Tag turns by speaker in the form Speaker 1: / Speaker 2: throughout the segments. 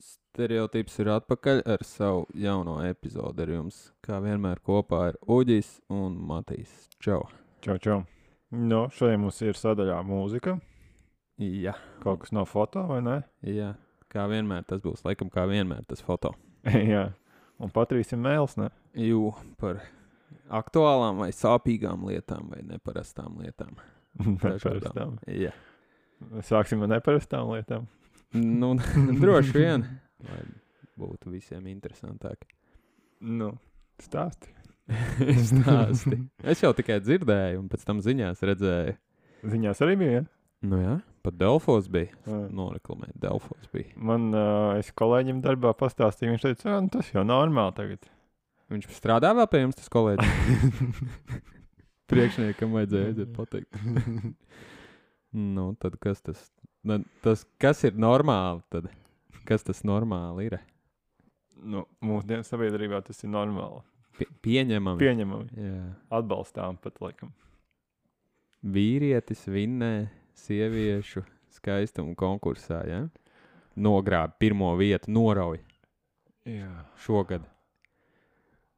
Speaker 1: Stereotips ir atpakaļ ar savu jauno epizodi ar jums. Kā vienmēr kopā ir Uģis un Matīs. Čau!
Speaker 2: Čau, čau. Nu, šodien mums ir sadaļā mūzika.
Speaker 1: Jā,
Speaker 2: Kaut kas no foto, vai ne?
Speaker 1: jā. kā vienmēr tas būs, laikam, kā vienmēr tas foto.
Speaker 2: Jā. Un Patrīs ir mēls, ne?
Speaker 1: Jū par aktuālām vai sāpīgām lietām vai neparastām lietām.
Speaker 2: Neparastām.
Speaker 1: Jā,
Speaker 2: Sāksim ar neparastām lietām.
Speaker 1: nu, droši vien. Lai būtu visiem interesantāk.
Speaker 2: Nu, stāsti.
Speaker 1: Stāsti. Es jau tikai dzirdēju, un pēc tam ziņās redzēju.
Speaker 2: Ziņās arī bija.
Speaker 1: Nu jā, pat Delfos bija.
Speaker 2: Ja?
Speaker 1: Noreklamēt, Delfos bija.
Speaker 2: Man, uh, es kolēģim darbā pastāstīju, viņš teica, "Ā, nu, tas jau normāli tagad.
Speaker 1: Viņš strādā vēl pie jums, tas kolēģis. Priekšniekam vajadzēja aiziet pateikt. nu, tad kas tas, na- tas kas ir normāli? Tad? Kas tas normāli ir?
Speaker 2: Nu, mūsdienu sabiedrībā tas ir normāli.
Speaker 1: Pie, pieņemami.
Speaker 2: Pieņemami,
Speaker 1: Jā.
Speaker 2: atbalstām pat, laikam.
Speaker 1: Vīrietis vinnē sieviešu skaistumu konkursā. Ja? Nogrāba pirmo vietu, norauj
Speaker 2: Jā.
Speaker 1: šogad.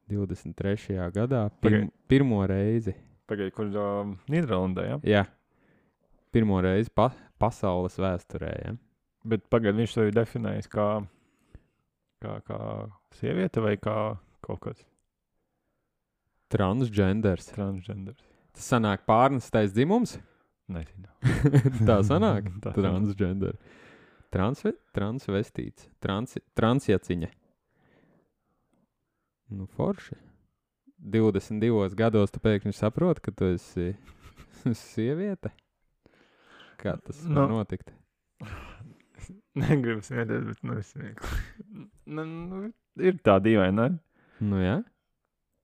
Speaker 1: 23. gadā
Speaker 2: Pagaid.
Speaker 1: pirm, pirmo reizi.
Speaker 2: Pagaidiet, kur um, Nīderlandē, jā? Ja?
Speaker 1: Jā, pirmo reizi pa, pasaules vēsturē. Ja?
Speaker 2: Bet pagaidiet, viņš sevi definējis kā, kā, kā sieviete vai kā kaut kas
Speaker 1: Transgenders.
Speaker 2: transgenders.
Speaker 1: Tas sanāk pārnestais dzimums.
Speaker 2: Nezinu.
Speaker 1: Tā sanāk.
Speaker 2: Tā sanāk.
Speaker 1: Transgender. Transve, transvestīts. Trans, transjaciņa. Nu, forši. 22 gados tu pēkšņi saproti, ka tu esi sieviete. Kā tas var
Speaker 2: Nu.
Speaker 1: notikt?
Speaker 2: Negribu smieties, bet nu es smieklīgi. Nu, nu, ir tā dīvaina, ne?
Speaker 1: Nu, jā.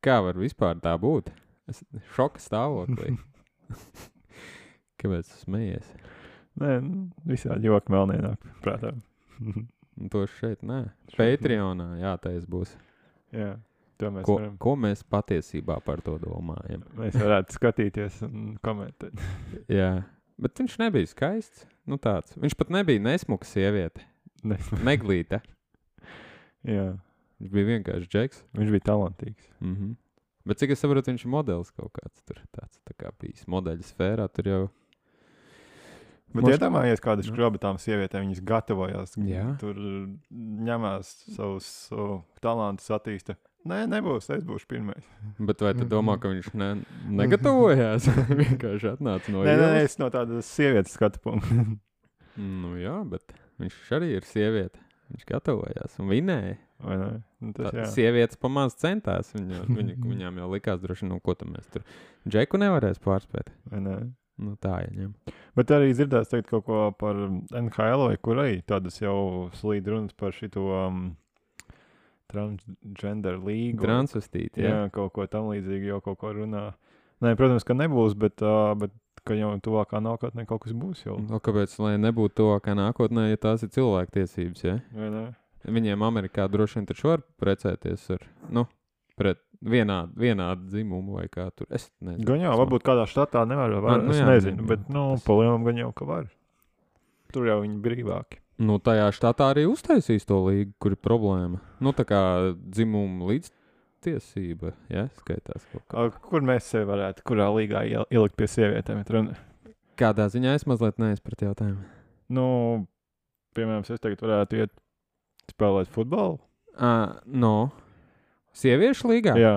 Speaker 1: Kā var vispār tā būt? Es šoka stāvoklī. Kāpēc tu smējies?
Speaker 2: Nē, nu, visādi joki vēl nenāk prātā.
Speaker 1: Nu, To šeit nē.
Speaker 2: Šeit
Speaker 1: Patreonā jātais būs.
Speaker 2: Jā, to mēs
Speaker 1: Ko,
Speaker 2: varam.
Speaker 1: ko mēs patiesībā par to domājam?
Speaker 2: Mēs varētu skatīties un komentēt.
Speaker 1: Jā, bet viņš nebija skaists. Nu, tāds. viņš pat nebija nesmuka sieviete,
Speaker 2: Nes,
Speaker 1: neglīta.
Speaker 2: jā,
Speaker 1: Viņš bija vienkārši džeks.
Speaker 2: viņš bija talantīgs.
Speaker 1: Mm -hmm. Bet cik es saprotu, viņš ir modelis kaut kāds tur tāds tā kā bijis. Modeļa sfērā tur jau
Speaker 2: Bet
Speaker 1: Mož-
Speaker 2: Mož... iedomājieties, kāda
Speaker 1: Nu.
Speaker 2: skroba tām sievietēm viņas gatavojās.
Speaker 1: Jā.
Speaker 2: Tur mm, ņemās savus savu talantus, attīstīja. Nē, nebūs, es būšu pirmais.
Speaker 1: Bet vai tu
Speaker 2: Mhm.
Speaker 1: domā, ka viņš ne, negatavojās? vienkārši atnāca no
Speaker 2: Nē, nē, nē,
Speaker 1: ielas.
Speaker 2: es no tādas sievietes skatu punkta.
Speaker 1: Nu, jā, bet viņš arī ir sieviete. Viņš gatavojās un vinēja.
Speaker 2: Vai ne? Nu, Tas
Speaker 1: Tā,
Speaker 2: jā.
Speaker 1: sievietes pamazs centās. Viņa, viņa, viņām jau likās, droši vien, nu, ko tam mēs tur džeku nevarēsim pārspēt.
Speaker 2: vai ne?
Speaker 1: Nu, tā ir. Ja
Speaker 2: Bet arī dzirdēs teikt kaut ko par NHL vai kur arī tādas jau slīd runas par šito um, transgender līgu.
Speaker 1: Transvestīti. Jā.
Speaker 2: jā, kaut ko tam līdzīgu jau kaut ko runā. Nē, protams, ka nebūs, bet, uh, bet ka jau tuvākā nākotnē kaut kas būs jau.
Speaker 1: No, Nu, kāpēc? Lai nebūtu to, ka nākotnē, ja tās ir cilvēktiesības, ja?
Speaker 2: Vai ne?
Speaker 1: viņiem Amerikā droši vien taču var precēties ar, nu, pret vienādu, vienādu dzimumu vai kā tur. Es nezinu.
Speaker 2: Gan jau,
Speaker 1: Tas
Speaker 2: varbūt kādā štatā nevar. Var,
Speaker 1: nu
Speaker 2: nu, es
Speaker 1: jā,
Speaker 2: nezinu,
Speaker 1: jā,
Speaker 2: bet
Speaker 1: jā,
Speaker 2: nu,
Speaker 1: tas-
Speaker 2: pa lielam gan jau, ka var. Tur jau viņi brīvāki.
Speaker 1: Nu, tajā štatā arī uztaisīs to līgu, kur ir problēma. Nu, tā kā dzimumu līdztiesība, ja, skaitās kaut kā.
Speaker 2: Kā, kur mēs sevi varētu, kurā līgā iel- ielikt pie sievietēm? ir runa?
Speaker 1: Kādā ziņā es mazliet neesmu pret jautājumu.
Speaker 2: Nu, piemēram, es tagad varētu iet spēlēt futbolu.
Speaker 1: Uh, no. Sieviešu līgā?
Speaker 2: Jā.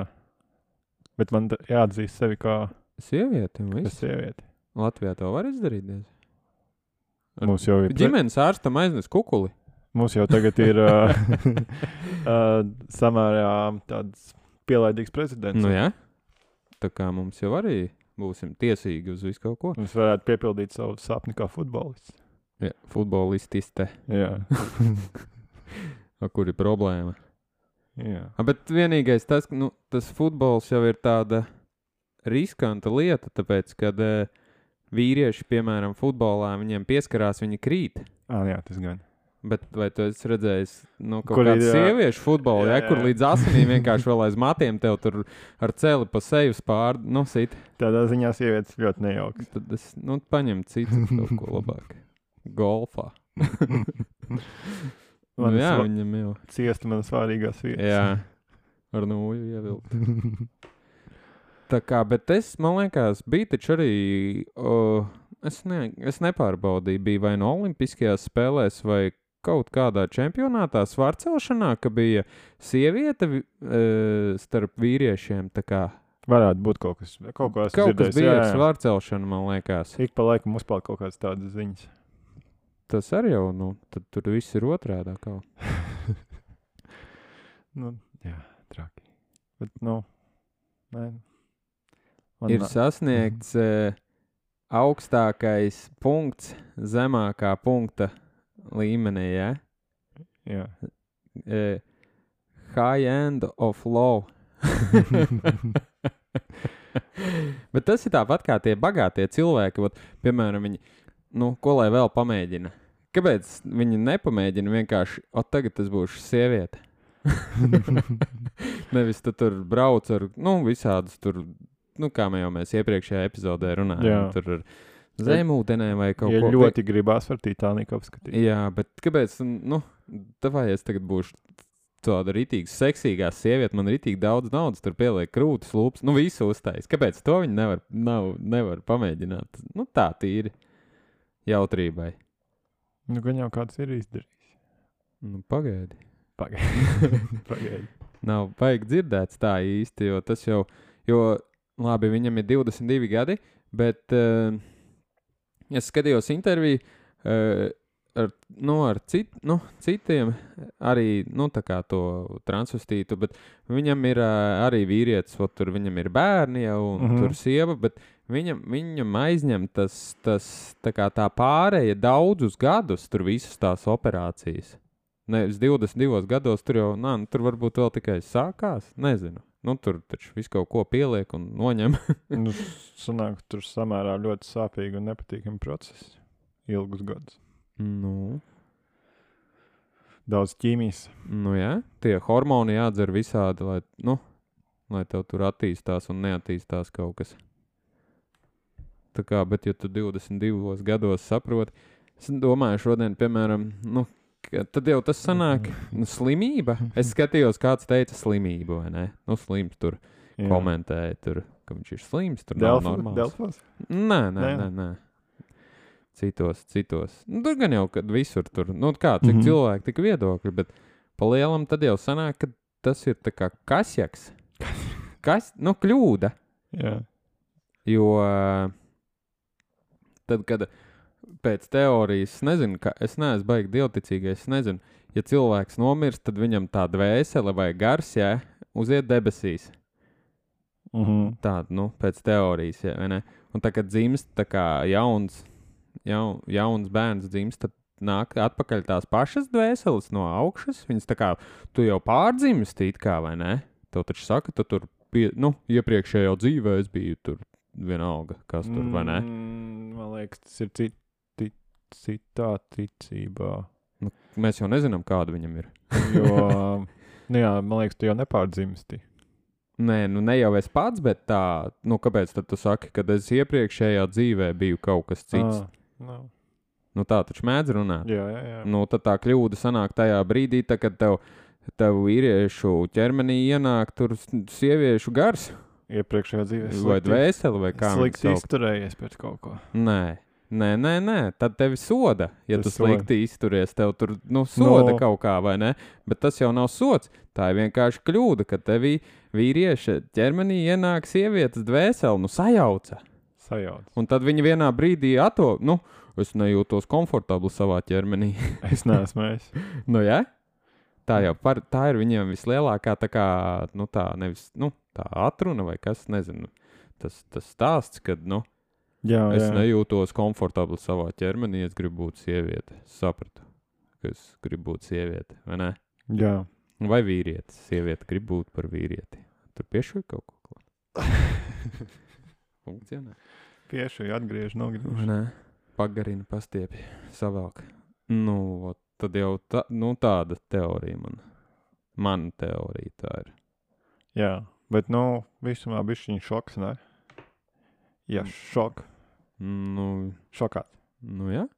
Speaker 2: Bet man tā- jāatzīst sevi kā
Speaker 1: Sieviete, un
Speaker 2: par
Speaker 1: viss.
Speaker 2: sievieti.
Speaker 1: Latvijā to var izdarīt. diez. Ar-
Speaker 2: Mums jau ir pre-
Speaker 1: Ģimenes ārstam aiznes kukuli.
Speaker 2: Mums jau tagad ir uh, uh, samērā tāds pielaidīgs prezidents.
Speaker 1: Nu, jā. Tā kā mums jau arī būsim tiesīgi uz visu kaut ko.
Speaker 2: Mums varētu piepildīt savu sapni kā futbolists.
Speaker 1: Jā, futbolististe,
Speaker 2: Jā.
Speaker 1: ar kur ir problēma.
Speaker 2: Jā.
Speaker 1: A, bet vienīgais tas, ka nu, tas futbols jau ir tāda riskanta lieta, tāpēc, kad eh, vīrieši, piemēram, futbolā viņiem pieskarās, viņi krīt.
Speaker 2: Ah, jā, tas gan.
Speaker 1: Bet vai tu esi redzējis, nu, kaut
Speaker 2: Kur
Speaker 1: kādu
Speaker 2: ir, jā.
Speaker 1: sieviešu futbolu,
Speaker 2: Jā,
Speaker 1: ja, kur
Speaker 2: jā.
Speaker 1: līdz asinīm vienkārši vēl aiz matiem tev tur ar celi pa seju spārdu nosīt?
Speaker 2: Tādā ziņā sievietes ļoti nejaukas.
Speaker 1: Tad es nu, paņemu citu, kaut ko labāku. Golfā. Nu,
Speaker 2: Man
Speaker 1: jā,
Speaker 2: sva-
Speaker 1: viņam jau.
Speaker 2: ciest manas svārīgās vietas.
Speaker 1: Jā, ar nūju ievilkt. Tā kā, bet es, man liekas, bija taču arī. O, es, ne, es nepārbaudīju, bija vai nu Olimpiskajās spēlēs, vai kaut kādā čempionātā svārcelšanā, ka bija sieviete vi- e, starp vīriešiem. Tā kā
Speaker 2: Varētu būt kaut kas, kaut ko esmu
Speaker 1: kaut kas
Speaker 2: dzirdējis,
Speaker 1: bija ar
Speaker 2: jā, jā.
Speaker 1: svārcelšanu, man liekas.
Speaker 2: Ik pa laikam uzpeld kaut kādas tādas ziņas.
Speaker 1: Tas arī jau, nu, tad tur viss ir otrādi. atkal.
Speaker 2: Nu, jā, traki. Bet, nu, nē. Man
Speaker 1: Ir
Speaker 2: nā-
Speaker 1: sasniegts e, augstākais punkts zemākā punkta līmenī. Ja?
Speaker 2: jā.
Speaker 1: uh, high end of low. Bet tas ir tāpat kā tie bagātie cilvēki. Ot, piemēram, viņi, nu, ko lai vēl pamēģina? Kāpēc viņi nepamēģina vienkārši, o, tagad tas būs sieviete? Nevis tu tur brauc ar nu, visādus tur, nu, kā mēs jau mēs iepriekšējā epizodē runājām,
Speaker 2: Jā.
Speaker 1: tur ar zemūdenēm vai kaut
Speaker 2: ja
Speaker 1: ko
Speaker 2: ļoti gribās var Titaniku apskatīt.
Speaker 1: Jā, bet kāpēc? Nu, vai es tagad būšu tāda rītīga, seksīga sieviete, man ir rītīgi daudz naudas, tur pieliek krūtis, lūpas, nu visu uztais. Kāpēc to viņi nevar, nav, nevar pamēģināt? Nu, tā tīri jautrībai.
Speaker 2: Nu, gan jau kāds ir izdarījis.
Speaker 1: Nu, pagaidi.
Speaker 2: Pagaidi.
Speaker 1: Nav baigi dzirdēts tā īsti, jo tas jau, jo labi, viņam ir 22 gadi, bet uh, es skatījos interviju uh, ar, nu, ar cit, nu, citiem, arī nu, tā kā to transvestītu, bet viņam ir uh, arī vīrietis, ot, tur viņam ir bērni jau, un
Speaker 2: Mhm.
Speaker 1: tur sieva, bet viņam, viņam aizņem tas, tas tā, kā tā pārēja daudzus gadus, tur visas tās operācijas. Nevis 22 gados, tur jau, nā, nu, tur varbūt vēl tikai sākās. Nezinu. Nu, tur taču viss kaut ko pieliek un noņem.
Speaker 2: Nu, sanāk, tur samērā ļoti sāpīgi un nepatīkami procesi. Ilgus gadus.
Speaker 1: nu,
Speaker 2: Daudz ķīmijas.
Speaker 1: nu jā, tie hormoni jādzer visādi, lai, nu, lai tev tur attīstās un neattīstās kaut kas. Tā kā, bet ja tu 22 gados saproti, es domāju, šodien, piemēram, nu, ka- tad jau tas sanāk, nu, slimība. Es skatījos, kāds teica slimību, vai ne? Nu, slims tur
Speaker 2: Jā.
Speaker 1: komentēja, tur, ka viņš ir slims, tur nav
Speaker 2: Delfa-
Speaker 1: normāls.
Speaker 2: Delfos.
Speaker 1: Nē, nē,
Speaker 2: Nē?
Speaker 1: nē. nē. Citos, citos. Nu, tur gan jau, kad visur tur, nu, kā cik mm
Speaker 2: Mhm.
Speaker 1: -hmm. cilvēki, tik viedokļi, bet pa lielam tad jau sanāk, ka tas ir tā kā kasjaks. Kas, nu, kļūda.
Speaker 2: Jā.
Speaker 1: Jo ā, tad, kad pēc teorijas, es nezinu, ka es neesmu baigi dievticīgais, es nezinu, ja cilvēks nomirst, tad viņam tā dvēsele vai gars, jā, uziet debesīs.
Speaker 2: Mhm.
Speaker 1: Tāda, nu, pēc teorijas, ja vai ne? Un tā kā dzimst, tā kā jauns, jaun, jauns bērns dzimst, tad nāk atpakaļ tās pašas dvēseles no augšas. Viņas tā kā tu jau pārdzimsti, it kā, vai ne? Tev taču saka, tu tur, pie, nu, iepriekšējā dzīvē es biju tur vienalga, kas tur, vai ne?
Speaker 2: Mm, Man liekas, tas ir cit, tic, citā ticībā.
Speaker 1: Mēs jau nezinām, kāda viņam ir.
Speaker 2: Jo, nu jā, man liekas, tu jau nepārdzimsti.
Speaker 1: Nē, nu ne jau es pats, bet tā, nu kāpēc tad tu saki, ka es iepriekšējā dzīvē biju kaut kas cits?
Speaker 2: Ah, nu,
Speaker 1: Nu tā taču mēdz runāt.
Speaker 2: jā, jā, jā.
Speaker 1: Nu, tad tā kļūda sanāk tajā brīdī, tā, kad tev, tev vīriešu ķermenī ienāk tur s- sieviešu gars
Speaker 2: Iepriekšējā dzīvē es
Speaker 1: vai
Speaker 2: slikti-
Speaker 1: dvēseli vai kā viņu
Speaker 2: slikti
Speaker 1: sauc.
Speaker 2: izturējies pret kaut ko.
Speaker 1: Nē. Nē, nē, nē, tad tevi soda. Ja
Speaker 2: Tev
Speaker 1: tu
Speaker 2: soda.
Speaker 1: slikti izturies, tev tur nu, soda
Speaker 2: No.
Speaker 1: no. kaut kā, vai ne? Bet tas jau nav sots. Tā ir vienkārši kļūda, ka tevī vīrieša ķermenī ienāk sievietes dvēseli, nu sajauca.
Speaker 2: Sajauc.
Speaker 1: Un tad viņi vienā brīdī ato, nu, es nejūtos komfortabli savā ķermenī.
Speaker 2: Es neesmu es.
Speaker 1: Nu, ja? Tā jau par, tā ir viņiem vislielākā tā kā, nu, tā nevis, nu, tā atruna vai kas, nezinu. Tas, tas stāsts, kad, nu,
Speaker 2: Oh, Jā,
Speaker 1: es
Speaker 2: jā.
Speaker 1: nejūtos komfortabli savā ķermenī, es gribu būt sieviete. Es sapratu, ka es gribu būt sieviete, vai ne?
Speaker 2: Jā.
Speaker 1: Vai vīrietis, sieviete grib būt par vīrieti. Tur piešķir kaut ko klāt. Funkcionē.
Speaker 2: Pieši atgriež
Speaker 1: Vai
Speaker 2: nogriež.
Speaker 1: ne? Pagarina, pastiepja, savāk. Nu, vot tad jau tā, nu, tāda teorija man. Mana teorija tā ir.
Speaker 2: Jā, bet nu, visumā bija šī šoks, ne? Jā, šok.
Speaker 1: Nu,
Speaker 2: Šokāt.
Speaker 1: nu jā.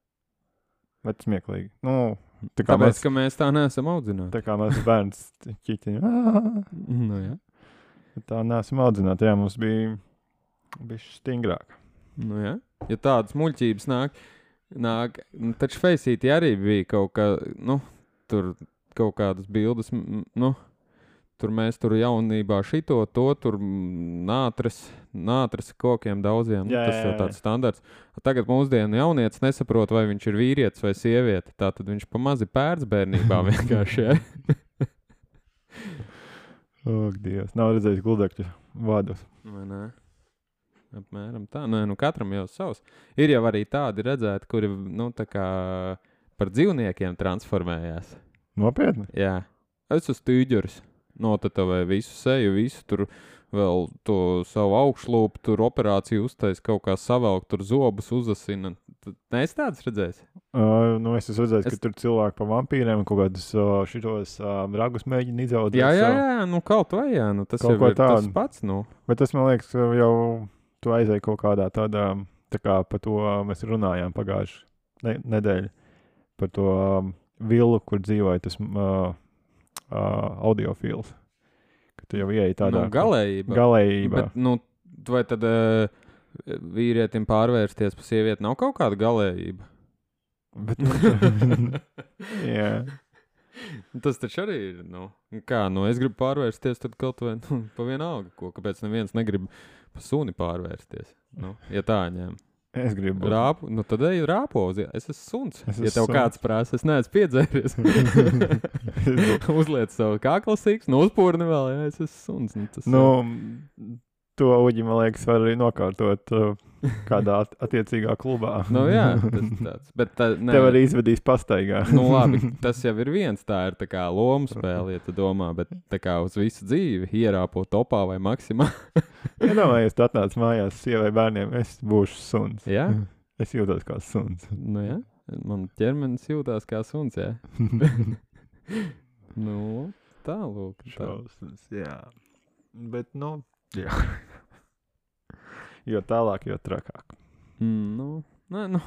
Speaker 2: Bet smieklīgi. Nu, Tā kā
Speaker 1: Tāpēc,
Speaker 2: mēs,
Speaker 1: ka mēs tā neesam audzināti.
Speaker 2: tā kā mēs bērns ķītiņā.
Speaker 1: Nu, jā.
Speaker 2: Tā neesam audzināti. Jā, mums bija bijis stingrāk.
Speaker 1: Nu, jā. Ja tādas muļķības nāk, nāk nu, taču Faceitī arī bija kaut kā, nu, tur kaut kādas bildes, m- m- nu, tur mēs tur jaunībā šito, to tur m, nātris, nātris kokiem daudziem, nu,
Speaker 2: Jā,
Speaker 1: tas
Speaker 2: jā,
Speaker 1: jau
Speaker 2: jā.
Speaker 1: tāds standarts. Tagad mūsdienu jaunietis nesaprot, vai viņš ir vīrietis vai sieviete, tā tad viņš pamazi pērts bērnībā vienkārši, jā.
Speaker 2: Ak, Dievs, nav redzējis gludekļu vārdus.
Speaker 1: Vai ne? Apmēram tā. Nē, nu katram jau savs. Ir jau arī tādi redzēti, kuri nu, tā kā par dzīvniekiem transformējās.
Speaker 2: Nopietni.
Speaker 1: Jā, es esmu tīģeris. Notetavē visu seju, visu tur vēl to savu augšlūpu, tur operāciju uztais kaut kā savelk, tur zobus uzasina. Tu neesi tāds redzējis?
Speaker 2: Uh, nu es esmu redzējis,
Speaker 1: Es-
Speaker 2: es... ka tur cilvēki pa vampīriem kaut kādus uh, šitos uh, ragus mēģina izaudzēt.
Speaker 1: Jā, jā,
Speaker 2: sev.
Speaker 1: jā, nu kaut vai jā, nu tas
Speaker 2: Kaut
Speaker 1: jau
Speaker 2: ko
Speaker 1: ir tas
Speaker 2: tādu.
Speaker 1: pats. Nu.
Speaker 2: Bet tas man liekas, ka jau tu aizēji kaut kādā tādā, tā kā par to mēs runājām pagājušā ne, nedēļa. Par to um, vilnu, kur dzīvoja tas uh, uh, audiofils. Ka tu jau ieeji tādā
Speaker 1: nu, galējībā.
Speaker 2: galējībā.
Speaker 1: Bet, nu, vai tad uh, vīrietim pārvērsties par sievieti nav kaut kāda galējība?
Speaker 2: Bet, bet, jā,
Speaker 1: Tas taču arī ir. Nu, kā, nu, es gribu pārvērsties, tad kaut vai nu, pa vienalga, ko. Kāpēc neviens negrib pa suni pārvērsties? Nu, ja tā ņem
Speaker 2: es gribu būt
Speaker 1: rāpu, nu tad ej rāpos. Ja. Es esmu suns.
Speaker 2: Es
Speaker 1: Es
Speaker 2: esmu
Speaker 1: ja tev
Speaker 2: suns.
Speaker 1: kāds prasa, es neesmu piedzēries. Uzliec savu kāklu sīkstu, nu uzpūri vēl, ja es esmu suns. Nu, tas
Speaker 2: Nu, m, to uģi, man liekas, var arī nokārtot uh, kādā at- attiecīgā klubā.
Speaker 1: nu jā, tas tāds. Bet, tā, nē,
Speaker 2: Tev arī izvedīs pastaigā.
Speaker 1: nu, labi, tas jau ir viens. Tā ir tā kā loma spēle, ja tu domā, bet tā kā uz visu dzīvi ierāpo topā vai maksimā.
Speaker 2: Iedomājies, tu atnāc mājās, sievai bērniem, es būšu suns.
Speaker 1: Jā,
Speaker 2: Es jūtos kā suns.
Speaker 1: nu, jā. man ķermenis jūtās kā suns. Jā. Nu, tā lūk. Tā.
Speaker 2: Šausmas, jā. Bet, nu, jā. Jo tālāk, jo trakāk.
Speaker 1: Mm, Nu, nē, nu,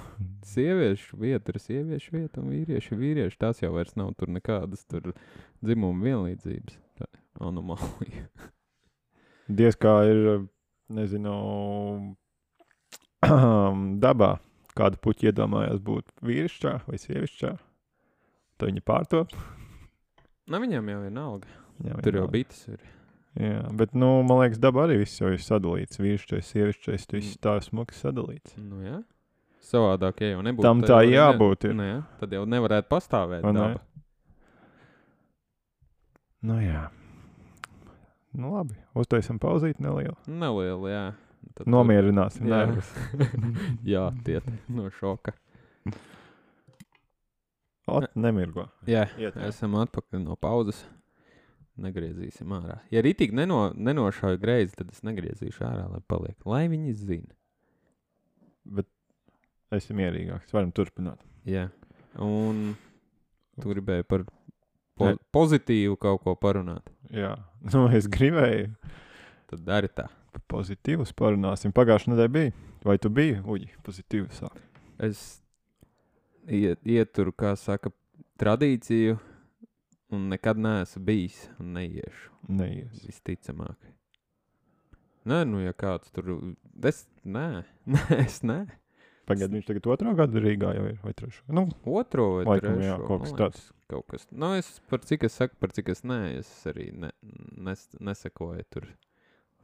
Speaker 1: sieviešu vieta ir sieviešu vieta, un vīriešu ir vīriešu. Tas jau vairs nav tur nekādas tur dzimuma vienlīdzības. Tā ir Anomālija.
Speaker 2: Diez kā ir, nezinu, dabā kādu puķi iedomājās būt vīrišķā vai sievišķā. Tad viņi pārtop.
Speaker 1: Nu, viņam jau ir nauda.
Speaker 2: Jā,
Speaker 1: Tur jau
Speaker 2: vienalga.
Speaker 1: bites ir.
Speaker 2: Jā, bet, nu, man liekas, dabā arī viss jau ir sadalīts. Vīrišķais, sievišķais, tas
Speaker 1: Mm.
Speaker 2: viss tā smuki sadalīts.
Speaker 1: Nu, jā. Savādāk, ja jau nebūtu.
Speaker 2: Tam
Speaker 1: tad
Speaker 2: tā
Speaker 1: jau ne-
Speaker 2: jābūt ir.
Speaker 1: Nu, jā, tad jau nevarētu pastāvēt.
Speaker 2: Vai ne?
Speaker 1: daba.
Speaker 2: Nu, jā. Nu, labi, uztaisam pauzīt nelielu.
Speaker 1: Neliela, jā. Tad tur-
Speaker 2: Nomierināsim.
Speaker 1: Jā.
Speaker 2: nervus.
Speaker 1: jā, tiet no šoka.
Speaker 2: Ot, nemirgo.
Speaker 1: Jā,
Speaker 2: Iet, jā.
Speaker 1: esam atpakaļ no pauzes. Negriezīsim ārā. Ja rītīgi neno, nenošauju greizi, tad es negriezīšu ārā, lai paliek. Lai viņi zina.
Speaker 2: Bet esam mierīgāki. Varam turpināt.
Speaker 1: Jā. Un tu gribēji par po pozitīvu kaut ko parunāt.
Speaker 2: Jā, nu, es gribēju.
Speaker 1: Tad dari tā.
Speaker 2: pa Pozitīvus parunāsim. Pagājušā nedēļa bija. Vai tu biji? Uģi, pozitīvs.
Speaker 1: es iet, ieturu, kā saka, tradīciju, un nekad neesmu bijis un neiešu.
Speaker 2: Neies.
Speaker 1: Visticamāk, nē, nu, ja kāds tur. Es nē, nē, es nē.
Speaker 2: Pagaidiet, viņš tagad otrā gada Rīgā jau ir. Vai trešā? Nu,
Speaker 1: Otro vai
Speaker 2: Laikam,
Speaker 1: trešo.
Speaker 2: jā, kaut kas
Speaker 1: man liekas, Kaut kas. Nu, es par cik es saku, par cik es nē, es arī ne, nes, nesakoju tur.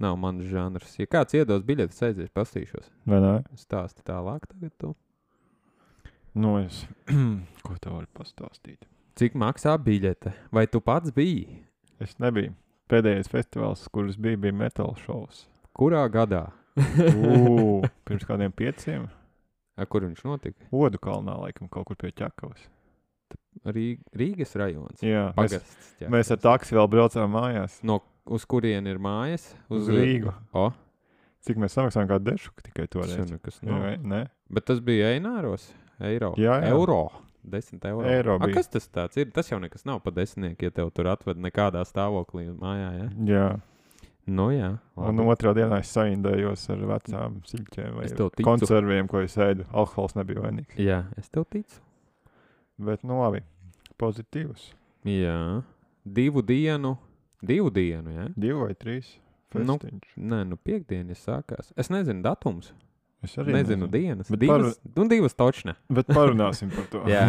Speaker 1: Nav mans žanrs. Ja kāds iedos biļeti, es aiziešu, pastīšos.
Speaker 2: vai nē?
Speaker 1: Stāsti tālāk, tagad tu.
Speaker 2: Nu, es. Ko tev var pastāstīt?
Speaker 1: Cik maksā biļete? Vai tu pats biji?
Speaker 2: Es nebiju. Pēdējais festivāls, kurus bija, bija metāla šovs.
Speaker 1: Kurā gadā?
Speaker 2: Ū, Pirms kādiem pieciem.
Speaker 1: Ar kur viņš notika?
Speaker 2: Odu kalnā, laikam, kaut kur pie ķekavas.
Speaker 1: Rī, Rīgas rajons.
Speaker 2: Jā, mēs,
Speaker 1: Pagasts. Jā.
Speaker 2: mēs ar taksi vēl braucām mājās.
Speaker 1: No, uz kurien ir mājas?
Speaker 2: Uz Rīgu.
Speaker 1: O,
Speaker 2: Cik mēs samaksājām, kā dešu tikai to
Speaker 1: tas ir
Speaker 2: reizi?
Speaker 1: nekas. No.
Speaker 2: Nē, nē,
Speaker 1: Bet tas bija eināros. Eiro.
Speaker 2: Jā, jā.
Speaker 1: Euro. 10 eiro.
Speaker 2: Eiro
Speaker 1: A,
Speaker 2: bija.
Speaker 1: kas tas tāds ir? Tas jau nekas nav pa desmitnieku, ja tev tur atved nekādā stāvoklī mājā. Ja?
Speaker 2: jā.
Speaker 1: Nu, jā.
Speaker 2: Un
Speaker 1: labi.
Speaker 2: otrā dienā es saindējos ar vecām siļķiem vai
Speaker 1: Es tev ticu.
Speaker 2: konserviem, ko es ēdu. Alkohols nebija vainīgs.
Speaker 1: Jā, es tev ticu.
Speaker 2: Bet, nu, labi. pozitīvs.
Speaker 1: Jā, divu dienu, divu dienu, jā.
Speaker 2: Divi vai trīs.
Speaker 1: Nu.
Speaker 2: festiņš.
Speaker 1: Nē, nu piekdienas sākās. Es nezinu datums,
Speaker 2: es
Speaker 1: Arī nezinu, dienas.
Speaker 2: Bet
Speaker 1: Divas, nu, divas točne.
Speaker 2: Bet parunāsim par to.
Speaker 1: Jā.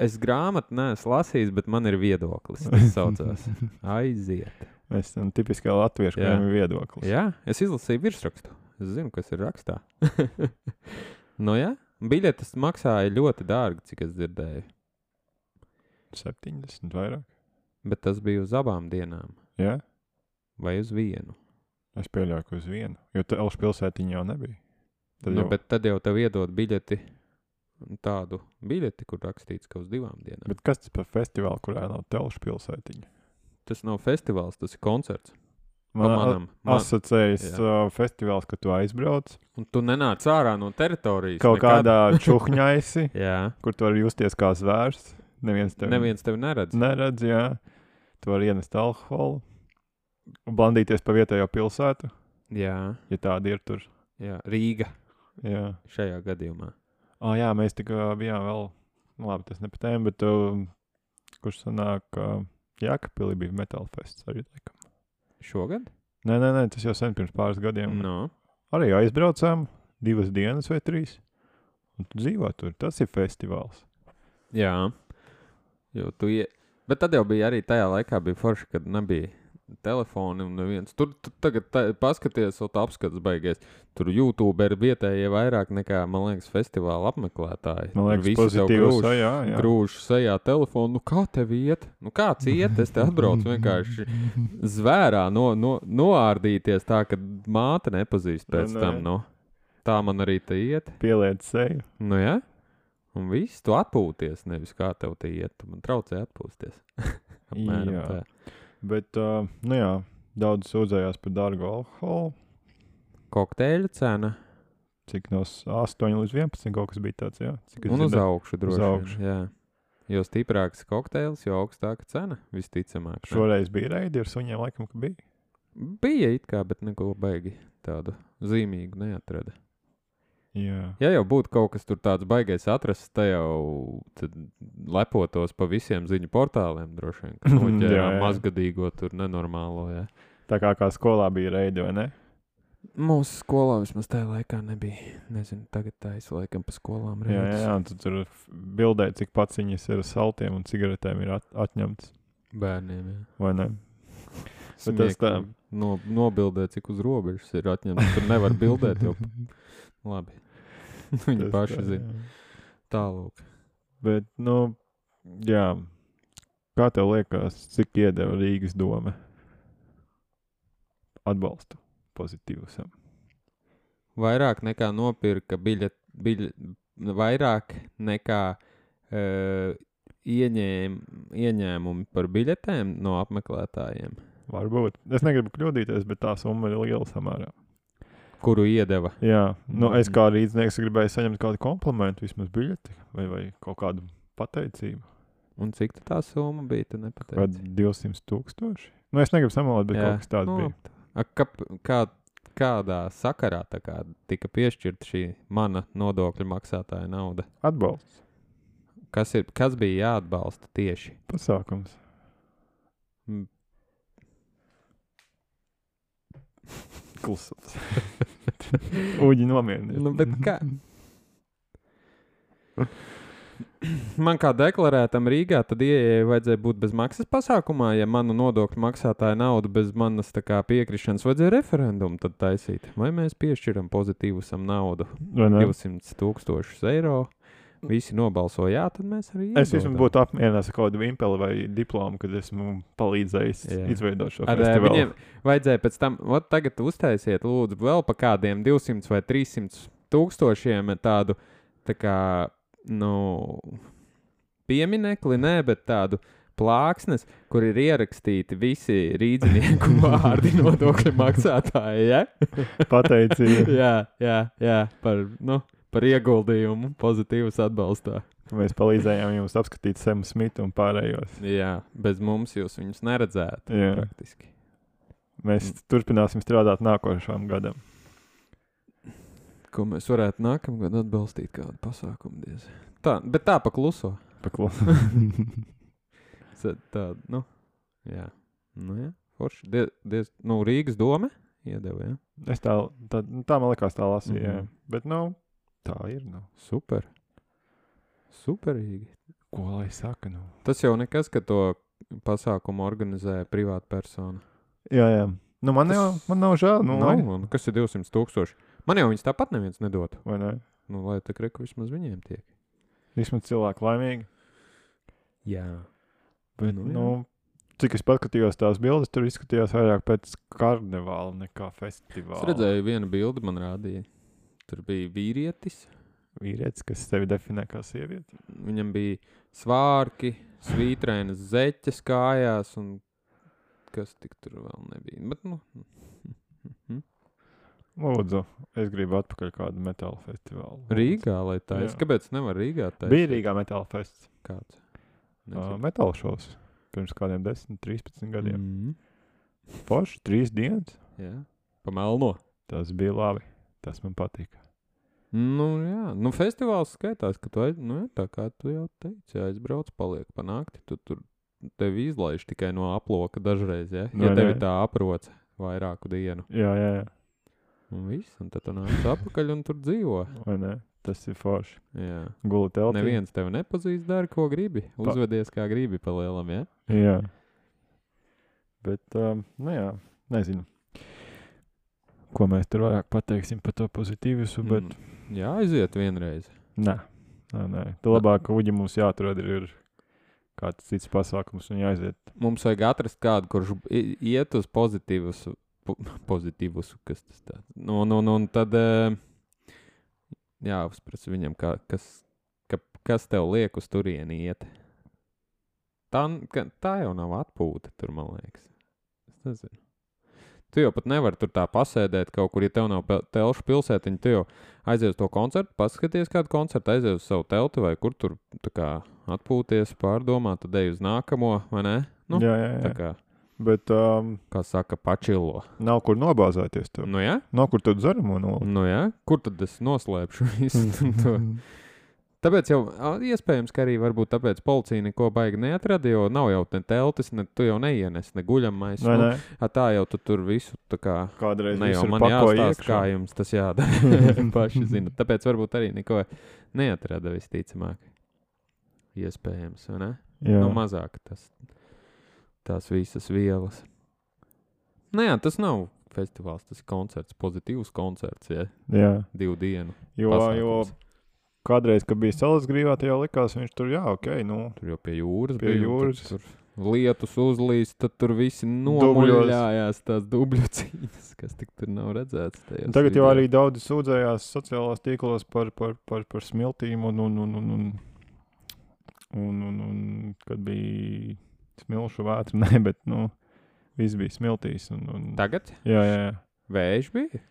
Speaker 1: Es grāmatu neesmu lasījis, bet man ir viedoklis. Tas saucās aiziet.
Speaker 2: Mēs esam tipiskā latviešu
Speaker 1: Jā.
Speaker 2: kungam viedoklis.
Speaker 1: Jā, es izlasīju virsrakstu. Es zinu, kas ir rakstā. nu, jā, biļetes maksāja ļoti dārgi, cik es dzirdēju.
Speaker 2: 70 vairāk.
Speaker 1: Bet tas bija uz abām dienām
Speaker 2: Jā?
Speaker 1: vai uz vienu.
Speaker 2: Es pieļauju, ka uz vienu. Jo Elžas pilsētiņa jau nebija. Tad
Speaker 1: Nu,
Speaker 2: jau-
Speaker 1: bet tad jau tev iedod biļeti, tādu biļeti, kur rakstīts, ka uz divām dienām. Bet...
Speaker 2: bet kas tas par festivālu, kurā nav telšu pilsētiņa?
Speaker 1: Tas nav festivāls, tas ir koncerts. Man,
Speaker 2: Man
Speaker 1: manam, man...
Speaker 2: asociējas uh, festivāls, ka tu aizbrauc
Speaker 1: Un tu nenāc ārā no teritorijas.
Speaker 2: kaut
Speaker 1: nekad.
Speaker 2: kādā čuhņaisi,
Speaker 1: Jā.
Speaker 2: kur tu vari justies kā zvērs. Neviens tev
Speaker 1: Neviens tevi neredz. Ne.
Speaker 2: neredz, jā. Tu vari ienest alkoholu, blandīties pa vietējo pilsētu,
Speaker 1: Jā,
Speaker 2: ja tāda ir tur.
Speaker 1: jā, Rīga
Speaker 2: Jā,
Speaker 1: šajā gadījumā.
Speaker 2: oh, jā mēs tikko bijām vēl, nu, labi, tas ne par tēmu, bet uh, kurš sanāk, uh, Jākapilī bija metāla fests arī laikam.
Speaker 1: Šogad?
Speaker 2: Nē, nē, nē, tas jau sen pirms pāris gadiem.
Speaker 1: No.
Speaker 2: Arī aizbraucām divas dienas vai trīs. Un tu dzīvo tur. Tas ir festivāls.
Speaker 1: Jā, jo tu ie... Bet tad jau bija arī tajā laikā, bija forši, kad nebija telefona un neviens. Tur tu tagad tā, paskaties, vēl tā apskats beigas. Tur YouTube ir vietējie vairāk nekā, man liekas, festivāla apmeklētāji.
Speaker 2: Man
Speaker 1: Tur
Speaker 2: liekas,
Speaker 1: visi tev
Speaker 2: pozitīvs.
Speaker 1: grūž-
Speaker 2: Jā, jā, jā.
Speaker 1: Grūžu sejā telefonu, nu kā tev iet? Nu, kāds iet? Es te atbraucu vienkārši zvērā, no, no, noārdīties tā, ka māte nepazīst pēc
Speaker 2: Nu, nē.
Speaker 1: tam. Nu. Tā man arī te iet.
Speaker 2: Pieliec seju.
Speaker 1: Nu, ja? Un viss tu atpūties, nevis kā tev te iet. Tu man traucē atpūsties. Apmēram
Speaker 2: Jā.
Speaker 1: tā.
Speaker 2: Bet, uh, nu jā, daudz sūdzējās par dārgu alkoholu.
Speaker 1: Kokteļa cena
Speaker 2: Cik no s- 8 līdz 11 kaut kas bija tāds, jā. Cik es
Speaker 1: un uz
Speaker 2: dzirdēju.
Speaker 1: augšu droši
Speaker 2: augšu.
Speaker 1: vien. Jā. Jo stiprāks kokteils, jo augstāka cena visticamāk. ne?
Speaker 2: Šoreiz bija reidi ar suņiem, laikam, ka bija.
Speaker 1: Bija it kā, bet neko baigi tādu zīmīgu neatrada.
Speaker 2: Jā.
Speaker 1: Ja jau būtu kaut kas tur tāds baigais atrasts, tad jau tad lepotos pa visiem ziņu portāliem droši vien. ka
Speaker 2: Jā,
Speaker 1: Noķērām
Speaker 2: jā.
Speaker 1: mazgadīgo tur nenormālo. Jā.
Speaker 2: Tā kā, kā skolā bija reidi, vai ne?
Speaker 1: Mūsu skolā vismaz tajā laikā nebija. Nezinu, tagad tā es laikam pa skolām
Speaker 2: Jā, jā, jā. un Tu tur bildē, cik pats viņas ir ar saltiem un cigaretēm ir at atņemts,
Speaker 1: Bērniem, jā.
Speaker 2: vai ne? Bet tas
Speaker 1: Smieklīgi.
Speaker 2: tā.
Speaker 1: No, nobildē, cik uz robežas ir atņemts. Tur nevar bildēt jau. Labi. Viņi
Speaker 2: Tas
Speaker 1: paši
Speaker 2: tā,
Speaker 1: zina.
Speaker 2: jā.
Speaker 1: Tālāk.
Speaker 2: Bet, nu, jā, kā tev liekas, cik iedeva Rīgas doma? Atbalstu pozitīvusam.
Speaker 1: Vairāk nekā nopirka biļet, biļet, vairāk nekā uh, ieņēm, ieņēmumi par biļetēm no apmeklētājiem,
Speaker 2: Varbūt. Es negribu kļūdīties, bet tā summa ir liela samērā.
Speaker 1: kuru iedeva.
Speaker 2: Jā, nu, es
Speaker 1: Mhm.
Speaker 2: kā rīznieks gribēju saņemt kādu komplimentu, vismaz biļeti vai, vai kaut kādu pateicību.
Speaker 1: Un cik tā tā summa bija? Tu
Speaker 2: Vai
Speaker 1: nepateici.
Speaker 2: 200 tūkstoši? Nu, es negribu samalot, bet
Speaker 1: Jā.
Speaker 2: kaut kas tāds
Speaker 1: Nu,
Speaker 2: bija.
Speaker 1: A, kap, kā, kādā sakarā tā kā, tika piešķirta šī mana nodokļu maksātāja nauda?
Speaker 2: Atbalsts,
Speaker 1: Kas, ir, kas bija jāatbalsta tieši?
Speaker 2: pasākums.
Speaker 1: Mm.
Speaker 2: Klusums. Uģi nomierinies.
Speaker 1: Nu, bet kā? Man kā deklarētam Rīgā, tad ieejai vajadzēja būt bez maksas pasākumā, ja manu nodokļu maksātāja naudu bez manas tā kā, piekrišanas vajadzēja referendumu tad taisīt. Vai mēs piešķiram pozitīvusam naudu?
Speaker 2: Vai ne?
Speaker 1: 200 tūkstošus eiro. Visi nobalsoja, jā, tad mēs arī.
Speaker 2: Es
Speaker 1: iedodam.
Speaker 2: vismaz būtu apmierināts ar kaut kādu impeli vai diplomu, kad esmu palīdzējis
Speaker 1: Jā.
Speaker 2: izveidot šo
Speaker 1: Ar, eh,
Speaker 2: festivālu.
Speaker 1: viņiem vajadzēja pēc tam, ot, tagad uztaisiet, lūdzu, vēl pa kādiem 200 vai 300 tūkstošiem tādu, tā kā, nu, pieminekli, nē, bet tādu plāksnes, kur ir ierakstīti visi rīznieku vārdi nodokļu maksātāji. Ja?
Speaker 2: Pateicību,
Speaker 1: Jā, jā, jā, par, nu, par ieguldījumu, pozitīvas atbalstā.
Speaker 2: ka mēs palīdzējām jums apskatīt Semu Smitu un pārējos.
Speaker 1: Jā, bez mums jūs viņus neredzētu
Speaker 2: Jā.
Speaker 1: praktiski.
Speaker 2: Mēs
Speaker 1: Mm.
Speaker 2: turpināsim strādāt nākošajam gadam.
Speaker 1: Ko mēs varētu nākamgad atbalstīt kādu pasākumu? Diez. Tā, bet tā pakluso.
Speaker 2: Paklu-
Speaker 1: Sa- Tā, nu, jā. Nu, jā. Forši. Diez, diez, nu, Rīgas doma iedeva, jā.
Speaker 2: es tā, tā, nu, tā man likās, tā lasīju. Mm
Speaker 1: Mhm.
Speaker 2: -hmm. Bet, nu, tā ir. Nu.
Speaker 1: Super. Superīgi.
Speaker 2: Ko lai saka? Nu?
Speaker 1: Tas jau nekas, ka to pasākumu organizē privāta persona.
Speaker 2: Jā, jā. Nu, man,
Speaker 1: Tas-
Speaker 2: Tas... jau, man nav žēl. Nu,
Speaker 1: Nu,
Speaker 2: lai-
Speaker 1: Nav, un kas ir 200 tūkstoši? Man jau viņas tāpat neviens nedod.
Speaker 2: Vai ne?
Speaker 1: Nu, lai tā kreka vismaz viņiem tiek.
Speaker 2: Vismaz cilvēki laimīgi.
Speaker 1: Jā.
Speaker 2: Bet,
Speaker 1: Nu, jā.
Speaker 2: nu, nu, cik es paskatījos tās bildes, tur izskatījās vairāk pēc karnevāla nekā festivāla.
Speaker 1: Es redzēju, viena bilde man rādīja. Tur bija vīrietis,
Speaker 2: vīrietis, kas sevi definē kā sievieti.
Speaker 1: viņam bija svārki, svītrainas zeķes kājās, un kas tik tur vēl nebija. Bet, nu,
Speaker 2: Lūdzu, es gribu atpakaļ kādu metāla festivālu. Lūdzu.
Speaker 1: Rīgā, lai tā ir.
Speaker 2: Jā.
Speaker 1: Kāpēc nevar Rīgā tā
Speaker 2: Bija Rīgā metāla fests,
Speaker 1: Kāds?
Speaker 2: uh, metāla šovs pirms kādiem 10, 13 gadiem.
Speaker 1: Mm.
Speaker 2: Mm. Forši, trīs dienas.
Speaker 1: Jā, pa melno.
Speaker 2: Tas bija labi. Tas man patika.
Speaker 1: Nu, jā, nu, festivāls skaitās, ka tu, aiz- nu, jā, tā kā tu jau teici, jā, aizbrauc, paliek panākti. Tu tur tevi izlaiž tikai no aploka dažreiz, ja, ja
Speaker 2: Vai
Speaker 1: tevi
Speaker 2: ne?
Speaker 1: tā aproce vairāku dienu.
Speaker 2: Jā, jā, jā.
Speaker 1: Un viss, un tad tu nāc apakaļ un tur dzīvo.
Speaker 2: Vai ne? Tas ir forši.
Speaker 1: Jā.
Speaker 2: Gulēt telpā.
Speaker 1: Neviens tevi nepazīst, dari, ko gribi. Uzvedies kā gribi, pa lielam, ja?
Speaker 2: Jā. Bet, um, nu jā, nezinu. Ko mēs tur vairāk pateiksim par to pozitīvismu, bet mm.
Speaker 1: Mm, Jā, aiziet vienreiz.
Speaker 2: nē, nē, nē. Tā labāk, ka uģi mums jāatrod ir, ir kāds cits pasākums un jāaiziet.
Speaker 1: Mums vajag atrast kādu, kurš i- iet uz pozitīvus, po- pozitīvus kas tas tāds. Nu, un, un, un tad eh, jāuzprasa viņam, kā, kas, ka, kas tev liek uz turieni iet. Tā, n- ka, tā jau nav atpūta, tur, man liekas. Es nezinu. Tu jau pat nevari tur tā pasēdēt kaut kur, ja tev nav pe- telšu pilsētiņa. Tu jau aizies uz to koncertu, paskaties kādu koncertu, aizies uz savu telti vai kur tur tā kā atpūties, pārdomāt, tad ej uz nākamo, vai ne? Nu,
Speaker 2: Nu, jā, jā,
Speaker 1: Tā
Speaker 2: jā.
Speaker 1: kā,
Speaker 2: Bet um,
Speaker 1: kā saka, pačilo.
Speaker 2: nav kur nobāzēties. Tev.
Speaker 1: Nu, jā?
Speaker 2: Nav kur tādu zaramo nolikt.
Speaker 1: Nu, jā? Kur tad es noslēpšu
Speaker 2: Mhm.
Speaker 1: visu to? Tāpēc jau ā, iespējams, ka arī varbūt tāpēc policija neko baigi neatrada, jo nav jau ne teltis, ne tu jau neienes, ne guļamais.
Speaker 2: Nē, nē,
Speaker 1: ā, tā jau tu tur visu tā kā.
Speaker 2: kādreiz
Speaker 1: nu, Ne jau
Speaker 2: visur
Speaker 1: man
Speaker 2: pakoja
Speaker 1: jāstāsta,
Speaker 2: iekšā.
Speaker 1: kā jums tas jādara. Paši zina. Tāpēc varbūt arī neko neatrada visticamāk. Iespējams, vai ne?
Speaker 2: Jā.
Speaker 1: nu, mazāk tas, tās visas vielas. Nu, jā, tas nav festivāls, tas ir koncerts, pozitīvs koncerts, ja
Speaker 2: jā.
Speaker 1: divu dienu.
Speaker 2: Jo, jo
Speaker 1: pasākums.
Speaker 2: kādreiz, kad bija salasgrīvā, tad jau likās, viņš tur jā, ok, nu,
Speaker 1: Tur jau pie jūras
Speaker 2: Pie
Speaker 1: bija. un
Speaker 2: jūras.
Speaker 1: Tur, tur lietus uzlīst, tad tur viss
Speaker 2: Dubļos.
Speaker 1: nomuļājās tās dubļu cīņas, kas tik tur nav redzēts. tajos
Speaker 2: Un Tagad jau
Speaker 1: video.
Speaker 2: arī daudzi sūdzējās sociālajās tīklos par, par, par, par smiltīm, un, un, un, un, un, un, un, un kad bija smilšu vētra, nē, bet nu, viss bija smiltīs. Un, un,
Speaker 1: Tagad
Speaker 2: jā, jā, jā.
Speaker 1: vējš bija.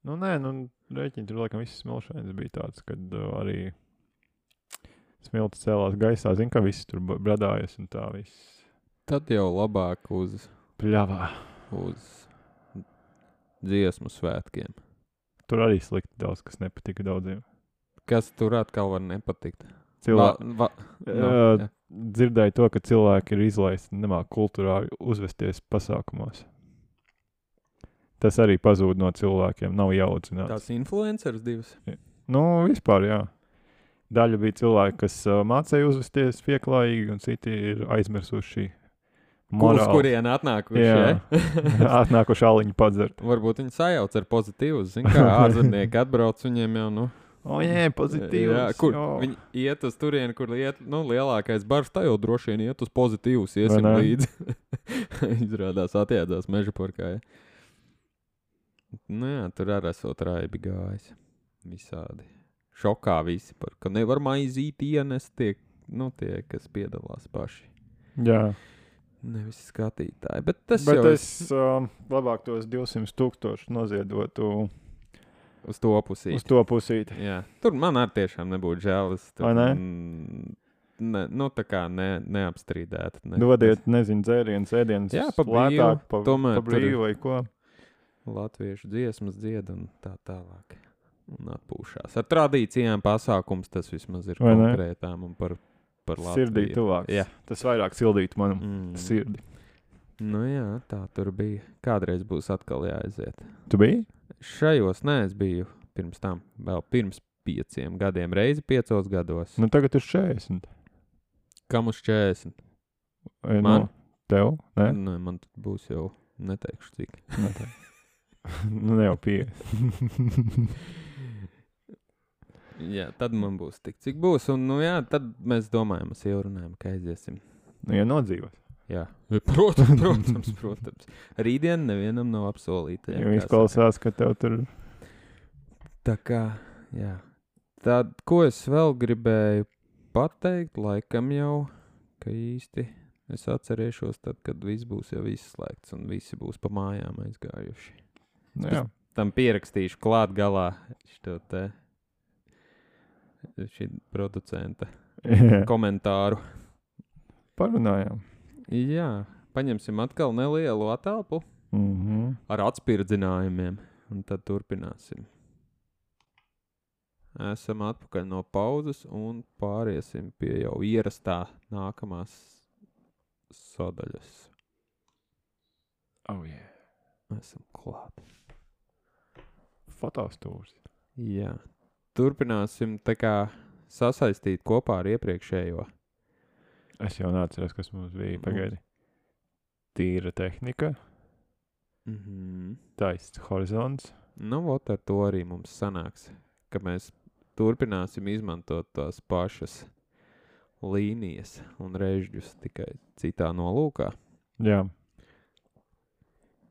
Speaker 2: Nu, nē, nu, rēķini tur laikam viss smilšais bija tāds, kad uh, arī smilti cēlās gaisā, zina, ka viss tur ba- bradājas un tā viss
Speaker 1: Tad jau labāk uz,
Speaker 2: pļāvā.
Speaker 1: uz dziesmu svētkiem.
Speaker 2: Tur arī slikti daudz, kas nepatika daudziem.
Speaker 1: Kas tur atkal var nepatikt?
Speaker 2: Cilvēki,
Speaker 1: va, nu,
Speaker 2: Ā,
Speaker 1: jā.
Speaker 2: dzirdēju to, ka cilvēki ir izlaisti nemā kultūrā uzvesties pasākumos. Tas arī pazūd no cilvēkiem, nav jaudzināts. Tas...
Speaker 1: Tās influenceris divas.
Speaker 2: Nu, vispār, jā. Daļa bija cilvēki, kas uh, mācīja uzvesties pieklājīgi, un citi ir aizmirsuši
Speaker 1: Kurš
Speaker 2: morāli.
Speaker 1: kurien atnākuši?
Speaker 2: Jā.
Speaker 1: Ja?
Speaker 2: Atnākuši aliņu padzert.
Speaker 1: Varbūt viņi sajauc ar pozitīvu. Zinu, kā ārzemnieki atbrauc, viņiem jau nu,
Speaker 2: O, jē, pozitīvi.
Speaker 1: Jā, kur viņi iet uz turieni, kur liet, nu, lielākais bars, tā jau droši vien iet uz pozitīvus, iesim
Speaker 2: ne?
Speaker 1: līdzi. Izrādās, atjēdzās meža parkā. Ja? Nu, jā, tur arī esot raibi gājis. Visādi. Šokā visi par to, ka nevar maizīt ienest tie, nu, tie kas piedalās paši.
Speaker 2: Jā,
Speaker 1: Nevis skatītāji, bet tas
Speaker 2: bet
Speaker 1: jau
Speaker 2: es uh, labāk tos 200 tūkstošus noziedotu
Speaker 1: ir uz to pusī.
Speaker 2: uz to pusīti.
Speaker 1: Jā. Tur man arī tiešām nebūtu žēl. es Tur,
Speaker 2: Vai ne?
Speaker 1: mm, Ne, nu, tā kā ne, neapstrīdēt. Ne,
Speaker 2: Dodiet, Nu, nezinu, dzērienu, sēdiņu.
Speaker 1: Jā, pa brīvu,
Speaker 2: pa,
Speaker 1: tomēr
Speaker 2: pa
Speaker 1: tur ir-
Speaker 2: brīvu vai ko.
Speaker 1: Latviešu dziesmas dzied un tā tālāk. Un atpūšās. Ar tradīcijām pasākums tas vismaz ir
Speaker 2: Vai ne?
Speaker 1: konkrētām un par, par Latviju.
Speaker 2: Sirdī tuvāks.
Speaker 1: Jā.
Speaker 2: Tas vairāk sildītu manam
Speaker 1: Mm.
Speaker 2: sirdi.
Speaker 1: Nu, jā, tā tur bija. Kādreiz būs atkal jāaiziet.
Speaker 2: Tu biji?
Speaker 1: Šajos nē, es biju pirms tam, vēl pirms pieciem gadiem, reizi piecos gados.
Speaker 2: Nu, tagad ir 40.
Speaker 1: Kam uz 40?
Speaker 2: Vai
Speaker 1: Man.
Speaker 2: Eh, No tev? Nē,
Speaker 1: Nē, Nu, man tur būs jau neteikšu, cik.
Speaker 2: Nē, tā. nu, ne jau 5.
Speaker 1: Jā, tad man būs tik, cik būs. Un, nu, jā, tad mēs domājam, mēs jau runājam, ka aiziesim.
Speaker 2: Nu, ja nodzīvot.
Speaker 1: Jā, protams, protams. protams. Rītdien nevienam nav apsolīta. jā,
Speaker 2: Jo
Speaker 1: kā saka.
Speaker 2: izklausās, ka tev tur
Speaker 1: Tā kā, jā. Tad, ko es vēl gribēju pateikt, laikam jau, ka īsti es atcerēšos, tad, kad viss būs jau izslēgts un visi būs pa mājām aizgājuši.
Speaker 2: nu, jā,
Speaker 1: Tam pierakstīšu klāt galā šo te šī producenta
Speaker 2: jā.
Speaker 1: komentāru.
Speaker 2: parunājām.
Speaker 1: Jā, paņemsim atkal nelielu atelpu
Speaker 2: Mm -hmm.
Speaker 1: ar atspirdzinājumiem, un tad turpināsim. Esam atpakaļ no pauzes un pāriesim pie jau ierastā nākamās sadaļas.
Speaker 2: oh, yeah.
Speaker 1: Esam klāt.
Speaker 2: Fotostūrs.
Speaker 1: Jā. Turpināsim tā kā sasaistīt kopā ar iepriekšējo.
Speaker 2: Es jau neatceros, kas mums bija.
Speaker 1: Mums.
Speaker 2: Pagaidi. Tīra tehnika,
Speaker 1: Mhm.
Speaker 2: taists horizons.
Speaker 1: Nu, vot ar to arī mums sanāks, ka mēs turpināsim izmantot tās pašas līnijas un režģus tikai citā nolūkā.
Speaker 2: Jā.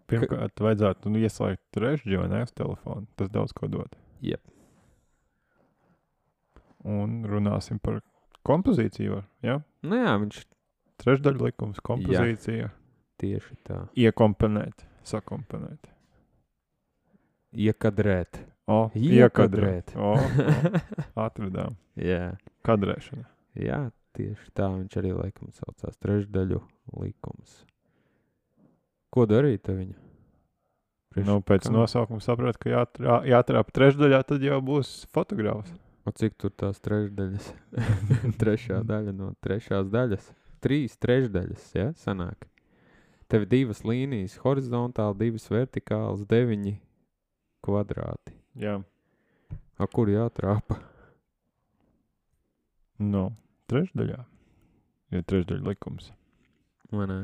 Speaker 2: Pirmkārt, vajadzētu nu, ieslēgt trešdienu, vai ne uz telefonu. Tas daudz ko dod.
Speaker 1: Jep.
Speaker 2: Un runāsim par kompozīciju. Ja?
Speaker 1: Nu, jā, viņš
Speaker 2: Trešdaļu likums, kompozīcija. Jā.
Speaker 1: tieši tā
Speaker 2: Iekomponēt, sakomponēt.
Speaker 1: iekadrēt.
Speaker 2: O,
Speaker 1: Iekadrēt.
Speaker 2: iekadrēt. O, o, atradām.
Speaker 1: jā.
Speaker 2: Kadrēšana.
Speaker 1: jā, tieši tā viņš arī laikam saucās trešdaļu likums. Ko darīt ar viņu? Priekš-
Speaker 2: Nu, pēc
Speaker 1: kā?
Speaker 2: nosaukuma sapratu, ka jāatrā, jāatrāpa trešdaļā, tad jau būs fotogrāfs.
Speaker 1: O, cik tur tās trešdaļas? Trešā daļa no trešās daļas. Trīs trešdaļas, ja sanāk. Tev ir divas līnijas, horizontāli, divas vertikālas, deviņi kvadrāti.
Speaker 2: Jā,
Speaker 1: A, kur jātrāpa?
Speaker 2: no Nu, trešdaļā. Ir trešdaļa likums.
Speaker 1: Vai ne?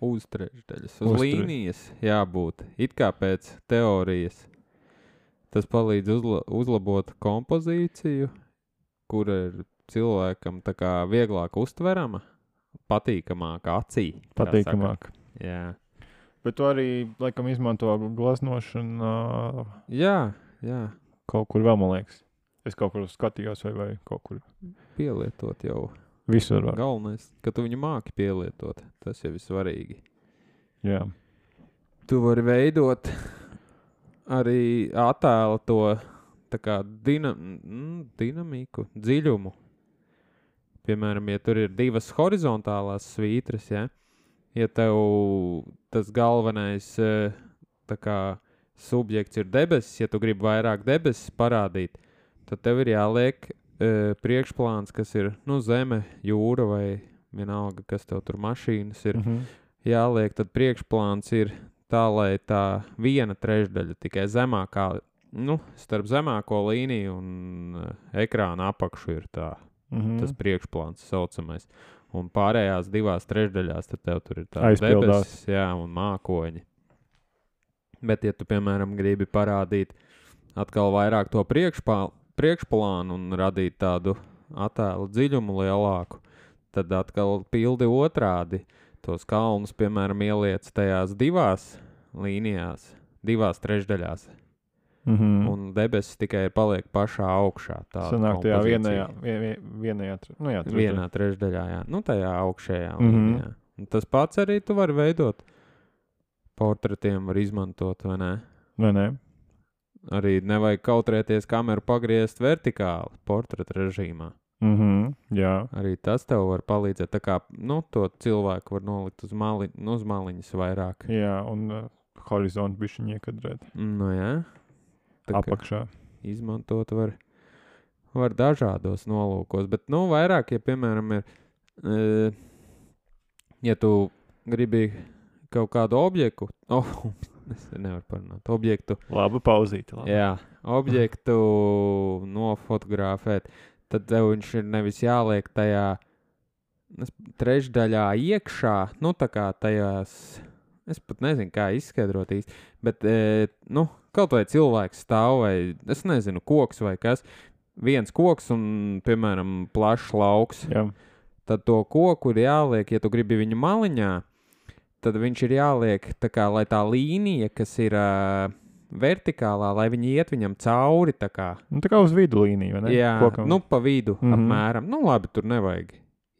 Speaker 1: Uz trešdaļas. Uz,
Speaker 2: Uz
Speaker 1: Uz
Speaker 2: tre-
Speaker 1: līnijas jābūt. It kā pēc teorijas. Tas palīdz uzla uzlabot kompozīciju, kur ir cilvēkam tā kā vieglāk uztverama, patīkamāk acī. kā saka.
Speaker 2: Patīkamāk.
Speaker 1: Jā,
Speaker 2: Bet to arī, laikam, izmanto glaznošana
Speaker 1: jā, jā.
Speaker 2: kaut kur vēl, man liekas. Es kaut kur skatījos, vai, vai kaut kur.
Speaker 1: pielietot jau.
Speaker 2: Visur var.
Speaker 1: Galvenais, ka tu viņu māki pielietot. Tas jau ir svarīgi.
Speaker 2: Jā,
Speaker 1: Tu vari veidot arī attēlu to tā kā dina mm, dinamiku, dziļumu. Piemēram, ja tur ir divas horizontālās svītras, ja, ja tev tas galvenais eh, tā kā, subjekts ir debesis, ja tu gribi vairāk debesis parādīt, tad tev ir jāliek eh, priekšplāns, kas ir nu, zeme, jūra vai vienalga, kas tev tur mašīnas ir
Speaker 2: mm -hmm.
Speaker 1: jāliek, tad priekšplāns ir tā, lai tā viena trešdaļa tikai zemākā, nu, starp zemāko līniju un eh, ekrāna apakšu ir tā,
Speaker 2: Mm -hmm.
Speaker 1: mm. tas priekšplāns saucamais. Un pārējās divās trešdaļās tad tev tur ir tāds
Speaker 2: Aizpildās.
Speaker 1: debesis, jā, un mākoņi. Bet, ja tu, piemēram, gribi parādīt atkal vairāk to priekšpā, priekšplānu un radīt tādu attēlu dziļumu lielāku, tad atkal pildi otrādi. Tos kalnus, piemēram, ieliec tajās divās līnijās, divās trešdaļās,
Speaker 2: mm
Speaker 1: mm.
Speaker 2: -hmm.
Speaker 1: un debesis tikai paliek pašā augšā. Tā
Speaker 2: Sanāk, tajā vienajā, vien, vien- vienajā, tre- nu, jā, trešdaļā.
Speaker 1: Vienā trešdaļā, jā. Nu, tajā augšējā.
Speaker 2: Mhm.
Speaker 1: Mm -hmm. Tas pats arī tu vari veidot. Portretiem var izmantot, vai ne?
Speaker 2: Vai ne?
Speaker 1: Arī nevajag kautrēties kameru pagriezt vertikāli portretu režīmā.
Speaker 2: Mm -hmm. Jā,
Speaker 1: Arī tas tev var palīdzēt. Tā kā nu, to cilvēku var nolikt uz, mali, nu, uz maliņas vairāk.
Speaker 2: jā, un uh, horizontu bišķiņ iekadrēt
Speaker 1: Nu, jā. Tā kā-
Speaker 2: apakšā.
Speaker 1: izmantot var, var dažādos nolūkos. Bet, nu, vairāk, ja, piemēram, ir eh, ja tu gribi kaut kādu objektu, oh, es nevaru parunāt, objektu,
Speaker 2: Labi, pauzīt. Labi.
Speaker 1: jā, objektu nofotografēt, tad tev viņš ir nevis jāliek tajā es- trešdaļā iekšā, nu tā kā tajās, es pat nezinu, kā izskaidrot īsti, bet, eh, nu, kaut vai cilvēks stāv vai, es nezinu, koks vai kas, viens koks un, piemēram, plašs lauks
Speaker 2: Jā.
Speaker 1: tad to koku ir jāliek, ja tu gribi viņu maliņā, tad viņš ir jāliek tā kā, lai tā līnija, kas ir ā, vertikālā, lai viņi iet viņam cauri. tā kā.
Speaker 2: Nu, tā kā uz viduslīniju, vai ne?
Speaker 1: Jā,
Speaker 2: Kokam,
Speaker 1: nu, pa vidu mm
Speaker 2: Mhm.
Speaker 1: -hmm. apmēram. Nu, labi, tur nevajag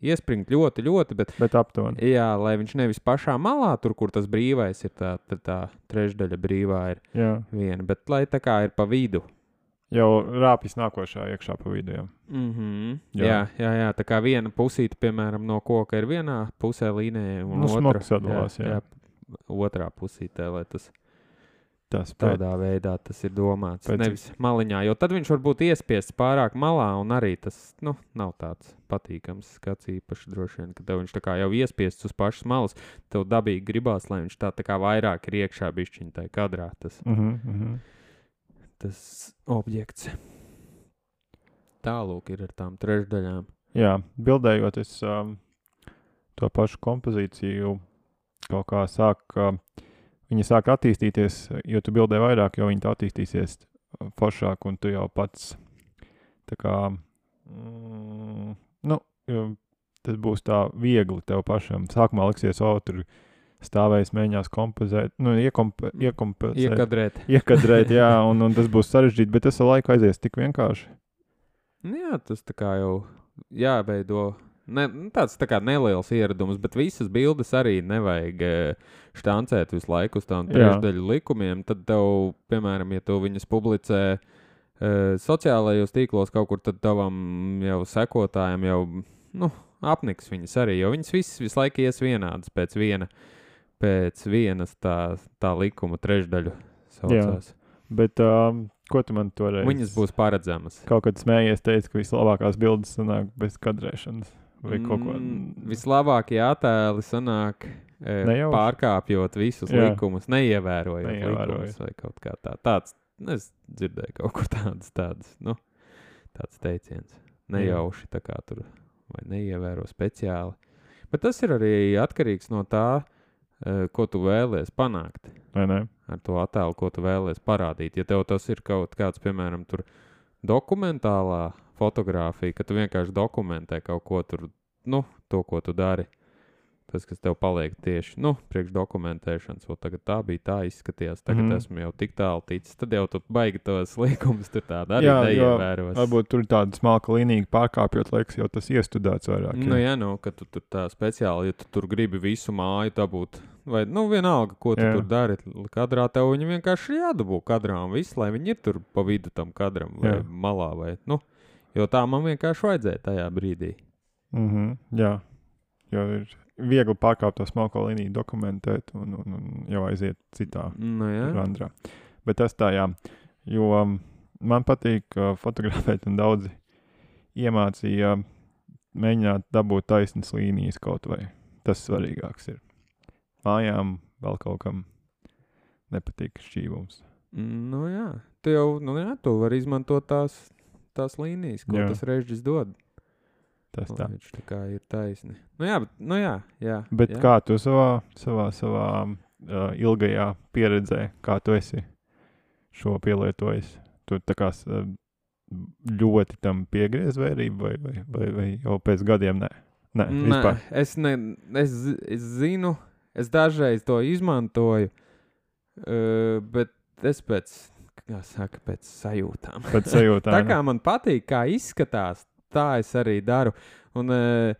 Speaker 1: iespringt ļoti, ļoti, bet
Speaker 2: Bet aptuveni.
Speaker 1: jā, lai viņš nevis pašā malā, tur, kur tas brīvais ir, tā, tā, tā trešdaļa brīvā ir
Speaker 2: Jā.
Speaker 1: viena, bet lai tā kā ir pa vidu.
Speaker 2: Jau rāpjas nākošā iekšā pa vidu. Jā.
Speaker 1: Mm -hmm.
Speaker 2: Jā.
Speaker 1: jā. jā, jā, tā kā viena pusīte, piemēram, no koka ir vienā pusē līnijā, un
Speaker 2: Nu,
Speaker 1: otra
Speaker 2: smags sadalās, jā.
Speaker 1: otrā pusītē, lai tas
Speaker 2: Tas pēd...
Speaker 1: tādā veidā tas ir domāts. Pēc...
Speaker 2: pēc-
Speaker 1: Nevis maliņā, jo tad viņš var būt iespiests pārāk malā, un arī tas nu, nav tāds patīkams skats īpaši droši vien, ka tev viņš tā kā jau iespiests uz pašas malas. Tev dabīgi gribās, lai viņš tā, tā kā vairāk ir iekšā bišķiņā, tai kadrā tas,
Speaker 2: Mm -hmm, mm -hmm.
Speaker 1: tas objekts. Tālāk ir ar tām trešdaļām.
Speaker 2: Jā, bildējot, es um, to pašu kompozīciju kaut kā sāku. Uh, viņa sāk attīstīties, jo tu bildē vairāk, jo viņa tā attīstīsies uh, foršāk, un tu jau pats. Tā kā. Mm, nu, jo tas būs tā viegli tev pašam. Sākumā liksies, o, tur stāvēs mēģinās kompozēt, nu, iekomp
Speaker 1: Mm.
Speaker 2: iekompensēt.
Speaker 1: Iekadrēt
Speaker 2: Iekadrēt, jā, un, un tas būs sarežģīti, bet tas ar laiku aizies tik vienkārši.
Speaker 1: Nu Jā, tas tā kā jau jāveido. Ne, nu, tāds tā kā neliels ieradums, bet visas bildes arī nevajag eh, štancēt visu laiku uz tām
Speaker 2: Jā.
Speaker 1: trešdaļu likumiem. Tad tev, piemēram, ja tu viņas publicē eh, sociālajos tīklos kaut kur, tad tavam jau sekotājam jau nu, apniks viņas arī, jo viņas visas visu laiku ies vienādas pēc viena, pēc vienas tā, tā likuma trešdaļu. saucās.
Speaker 2: Bet, um, ko tu man toreiz?
Speaker 1: Viņas būs paredzamas.
Speaker 2: Kaut kad smējies, teica, ka vislabākās bildes sanāk bez kadrēšanas. Vai kaut ko
Speaker 1: Mm, Vislabākie attēli sanāk e,
Speaker 2: Nejauši.
Speaker 1: pārkāpjot visus
Speaker 2: Jā.
Speaker 1: Jā. likumus, neievērojot
Speaker 2: Neievērojot.
Speaker 1: likumus vai kaut kā tā. tāds. nu, Es dzirdēju kaut kur tādas, tādas nu, tāds teiciens. Nejauši tā kā tur vai neievēro speciāli. Bet tas ir arī atkarīgs no tā, e, ko tu vēlēsies panākt
Speaker 2: Vai ne?
Speaker 1: ar to attēlu, ko tu vēlēsies parādīt. Ja tev tas ir kaut kāds, piemēram, tur dokumentālā fotografija, ka tu vienkārši dokumentē kaut ko tur, nu, to, ko tu dari. Tas, kas tev paliek tieši nu, priekšdokumentēšanas, jau tagad tā bija, tā izskatījās. Tagad
Speaker 2: Mhm.
Speaker 1: mm. esmu jau tik tālu ticis. Tad jau tu baigi tos līkumus, tur tādā arī
Speaker 2: Jā, jo
Speaker 1: neievēros.
Speaker 2: Varbūt tur ir tāda smalka līnija, pārkāpjot, liekas, jau tas iestudēts vairāk.
Speaker 1: Nu, jā, nu, ka tu tur tā speciāli, ja tu tur gribi visu māju dabūt, vai nu vienalga, ko tu
Speaker 2: Jā.
Speaker 1: jā. tur dari, kadrā tev viņa vienkārši ir jādabū kadrā un viss, lai viņi ir tur pa vidu tam kadram vai
Speaker 2: Jā.
Speaker 1: jā. malā. Vai, nu, jo tā man vienkārši vajadzēja tajā brīdī.
Speaker 2: Mm -hmm, jā, jo ir viegli pārkāpt to smalko līniju, dokumentēt un, un, un jau aiziet citā.
Speaker 1: Nu, jā.
Speaker 2: žanrā. Bet tas tā, jā. Jo um, man patīk uh, fotografēt, un daudzi iemācīja um, mēģināt dabūt taisnas līnijas kaut vai. Tas svarīgāks ir. Mājām vēl kaut kam nepatīk šķīvums.
Speaker 1: Nu, jā. Tu jau nu, jā, tu vari izmantot tās, tās līnijas, ko
Speaker 2: Jā.
Speaker 1: jā. tas režģis dod.
Speaker 2: Tas
Speaker 1: lai
Speaker 2: tā.
Speaker 1: Viņš tā kā ir taisni. Nu, jā, bet, nu, jā, jā,
Speaker 2: Bet
Speaker 1: jā.
Speaker 2: jā. kā tu savā, savā, savā uh, ilgajā pieredzē, kā tu esi šo pielietojis? Tu tā kā s- ļoti tam piegriez vērību, vai, vai, vai, vai jau pēc gadiem nē? Nē, nē.
Speaker 1: Nē,
Speaker 2: vispār.
Speaker 1: es, ne, es, zi- es zinu, es dažreiz to izmantoju, eh, bet es pēc, kā saka, pēc sajūtām.
Speaker 2: Pēc sajūtām.
Speaker 1: Tā kā man patīk, kā izskatās, tā es arī daru. Un eh,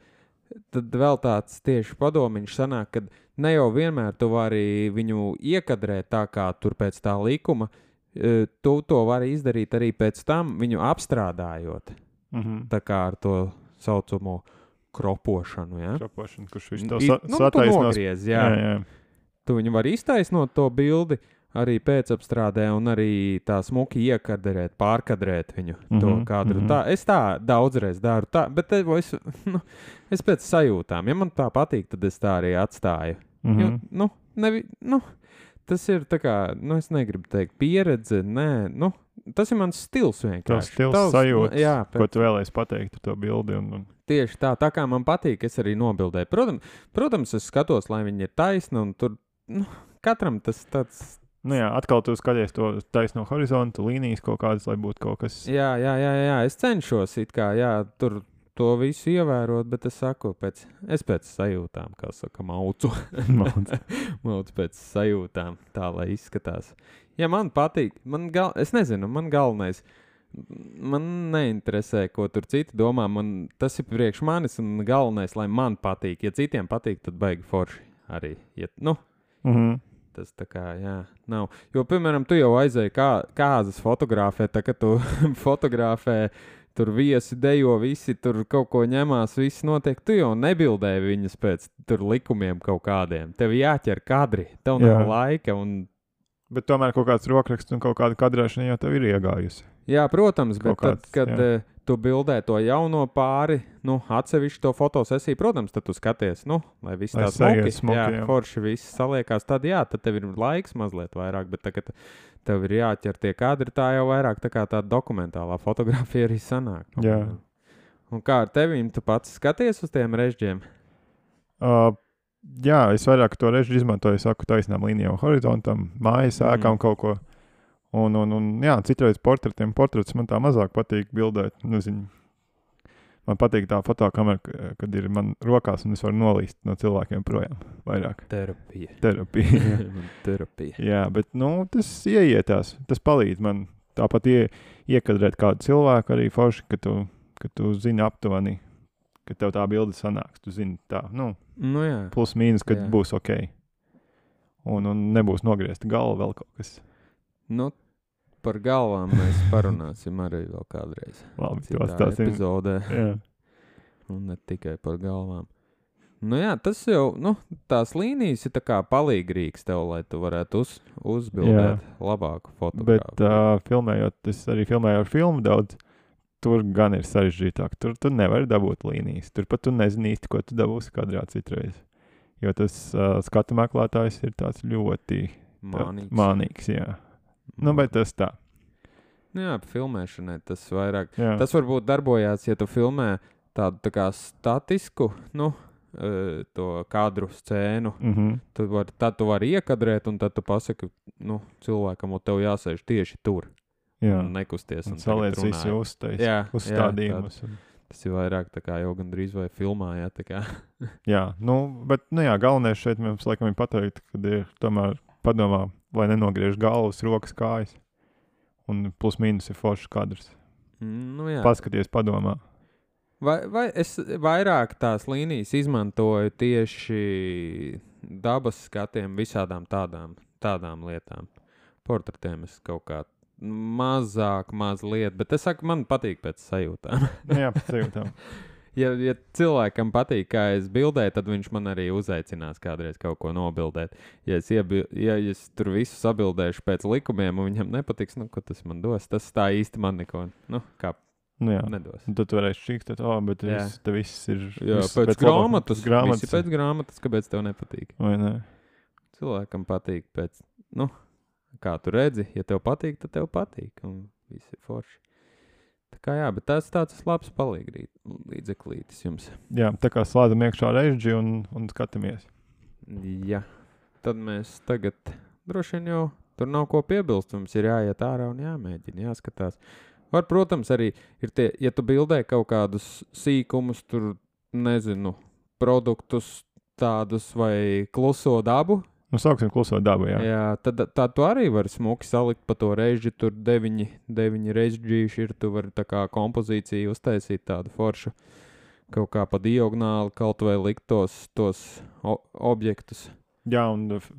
Speaker 1: tad vēl tāds tieši padomiņš sanāk, ka ne jau vienmēr tu vari viņu iekadrēt tā kā tur pēc tā likuma. eh, Tu to vari izdarīt arī pēc tam, viņu apstrādājot
Speaker 2: Mhm.
Speaker 1: tā kā ar to saucamo kropošanu. Ja?
Speaker 2: Čapošana, kurš viņš
Speaker 1: N-
Speaker 2: tev
Speaker 1: i-
Speaker 2: sa
Speaker 1: nu, tu
Speaker 2: sataisnos.
Speaker 1: nogriez, jā.
Speaker 2: jā, jā.
Speaker 1: Tu viņu vari iztaisnot to bildi, arī pēcapstrādē, un arī tā smuki iekaderēt, pārkadrēt viņu mm -hmm, to
Speaker 2: Mhm,
Speaker 1: kadru. Mm
Speaker 2: mhm.
Speaker 1: -hmm. tā, es tā daudzreiz daru, tā, bet te, es, nu, es pēc sajūtām, ja man tā patīk, tad es tā arī atstāju.
Speaker 2: Mm
Speaker 1: Jo, nu, nevi, nu, tas ir tā kā, nu, es negribu teikt, pieredze. Nē, nu, tas ir mans stils vienkārši.
Speaker 2: Tas stils,
Speaker 1: Tavs, nu,
Speaker 2: sajūtas,
Speaker 1: jā,
Speaker 2: Ko tu vēlējies pateikt ar to bildi? Un, un,
Speaker 1: Tieši tā, tā kā man patīk, es arī nobildēju. Protams, protams es skatos, lai viņi ir taisni un tur nu, katram tas tāds.
Speaker 2: nu, jā, atkal tu skaties to taisno horizontu, līnijas kaut kādas, lai būtu kaut kas.
Speaker 1: Jā, jā, jā, jā es cenšos it kā jā, tur to visu ievērot, bet es saku, pēc, es pēc sajūtām, kā saka, maucu.
Speaker 2: Mauc.
Speaker 1: Mūžs pēc sajūtām, tā lai izskatās. Ja man patīk, man gal, es nezinu, man galvenais. Man neinteresē, ko tur citi domā. Man, tas ir priekš manis, un galvenais, lai man patīk. Ja citiem patīk, tad baigi forši arī. Ja, nu,
Speaker 2: Mhm.
Speaker 1: tas tā kā, jā, nav. Jo, piemēram, tu jau aizēji kā, kāzas fotografē, tā kā tu fotografē. Tur viesi dejo, visi tur kaut ko ņemās, viss notiek. Tu jau nebildēji viņas pēc tur likumiem kaut kādiem. Tev jāķer kadri, tev jā. nav
Speaker 2: Jā.
Speaker 1: laika. Un,
Speaker 2: Bet tomēr kaut kāds rokraksts un kaut kāda kadrēšana jau tev ir iegājusi.
Speaker 1: jā, protams, bet
Speaker 2: Kaut
Speaker 1: kāds,
Speaker 2: kāds,
Speaker 1: tad, kad
Speaker 2: jā.
Speaker 1: jā. tu bildē to jauno pāri, nu, atsevišķi to fotosesiju, protams, tad tu skaties, nu, lai viss
Speaker 2: Lai
Speaker 1: tāds
Speaker 2: sajiet smuki,
Speaker 1: jā,
Speaker 2: jā.
Speaker 1: forši viss saliekās. Tad, jā, tad tev ir laiks mazliet vairāk, bet tagad tev ir jāķer tie kadri, tā jau vairāk tā kā tāda dokumentālā fotografija arī sanāk. nu.
Speaker 2: Jā.
Speaker 1: Un kā ar tevīm, tu pats skaties uz tiem režģiem?
Speaker 2: Uh, jā, es vairāk to reizi izmantoju, saku, taisnām līnijām, horizontam, mājas
Speaker 1: Mhm.
Speaker 2: ēkām kaut ko. Un, un, un jā, citreiz portretiem. Portrets man tā mazāk patīk bildēt. Nu, ziņ, man patīk tā fotokamera, k- kad ir man rokās un es varu nolīst no cilvēkiem projām. Vairāk
Speaker 1: Terapija.
Speaker 2: terapija.
Speaker 1: Terapija.
Speaker 2: jā, bet nu, tas ieietās, tas palīdz man tāpat ie, iekadrēt kādu cilvēku arī forši, ka tu, ka tu zini aptuveni, ka tev tā bilde sanāks. Tu zini tā, nu,
Speaker 1: Nu, jā.
Speaker 2: plus mīnus, kad
Speaker 1: Jā.
Speaker 2: jā. būs ok. Un, un nebūs nogriezta galva vēl kaut kas.
Speaker 1: Nu, par galvām mēs parunāsim arī vēl kādreiz.
Speaker 2: Labi,
Speaker 1: Citā
Speaker 2: tas tas ir.
Speaker 1: epizodē,
Speaker 2: Jā,
Speaker 1: un Nu, ne tikai par galvām. Nu, jā, tas jau, nu, tās līnijas ir tā kā palīdzīgas tev, lai tu varētu uz, uzbildēt jā. labāku fotogrāfiju.
Speaker 2: bet uh, filmējot, es arī filmēju ar filmu daudz. Tur gan ir sarežģītāk. Tur tu nevari dabūt līnijas. Tur pat tu nezini īsti, ko tu dabūsi kadrā citreiz. Jo tas uh, skatu meklētājs ir tāds ļoti tā-
Speaker 1: Mānīgs.
Speaker 2: mānīgs jā. Nu, bet tas tā.
Speaker 1: Nu Jā, filmēšanai tas vairāk.
Speaker 2: Jā.
Speaker 1: Tas varbūt darbojās, ja tu filmē tādu tā kā statisku, nu, eh, to kadru scēnu.
Speaker 2: Mm -hmm.
Speaker 1: Tad, var, tad tu vari iekadrēt, un tad tu pasaki, nu, cilvēkam, un tev jāsēž tieši tur.
Speaker 2: jā.
Speaker 1: un Nekusties.
Speaker 2: Un
Speaker 1: tagad
Speaker 2: saliec
Speaker 1: runāj.
Speaker 2: visu uztais,
Speaker 1: Jā, jā,
Speaker 2: uzstādījumus. un-
Speaker 1: tā- Tas ir vairāk tā kā jau gandrīz vai filmā, jā, tā kā.
Speaker 2: Jā, nu, bet nu, jā, galvenais šeit mums laikam ir pateikt, ka ir tomēr padomā, lai nenogriež galvas, rokas, kājas. Un plus mīnus ir foršs kadrs.
Speaker 1: Nu, jā.
Speaker 2: Paskaties, padomā.
Speaker 1: Vai, vai es vairāk tās līnijas izmantoju tieši dabas skatiem, visādām tādām, tādām lietām? Portretiem es kaut kā mazāk, mazliet, bet es saku, man patīk pēc sajūtām.
Speaker 2: Nu, jā, pēc sajūtām.
Speaker 1: ja, ja cilvēkam patīk, kā es bildēju, tad viņš man arī uzaicinās kādreiz kaut ko nobildēt. Ja es, iebi, ja es tur visu sabildēšu pēc likumiem, un viņam nepatiks, nu, ko tas man dos, tas tā īsti man neko nu, kā
Speaker 2: Nu, jā.
Speaker 1: nedos.
Speaker 2: Un tad tu varēsi šķīkt, oh, bet
Speaker 1: Jā.
Speaker 2: viss, te viss ir.
Speaker 1: Jā,
Speaker 2: viss
Speaker 1: pēc, pēc
Speaker 2: laba-
Speaker 1: grāmatas. Grāmatas.
Speaker 2: pēc grāmatas.
Speaker 1: Visi pēc grāmatas, kāpēc tev nepatīk?
Speaker 2: Vai ne?
Speaker 1: Cilvēkam patīk pēc, nu, kā tu redzi, ja tev patīk, tad tev patīk. Un viss ir forši. Tā kā jā, bet tas tāds labs palīdzīgs līdzeklītis jums.
Speaker 2: Jā, tā kā slēdzam iekšā režģi un, un skatāmies.
Speaker 1: Jā, tad mēs tagad droši vien jau tur nav ko piebilst. Mums ir jāiet ārā un jāmēģina, jāskatās. Var, protams, arī ir tie, ja tu bildē kaut kādus sīkumus, tur nezinu, produktus tādus vai kluso dabu,
Speaker 2: Nu, sāksim kluso dabu. Jā.
Speaker 1: jā. Jā, tad tā tu arī vari smuki salikt pa to reizi, tur deviņi, deviņi reizģīši ir, tu vari tā kā kompozīciju uztaisīt tādu foršu. Kaut kā pa diagonāli kaut vai likt tos, tos o- objektus.
Speaker 2: jā un, f-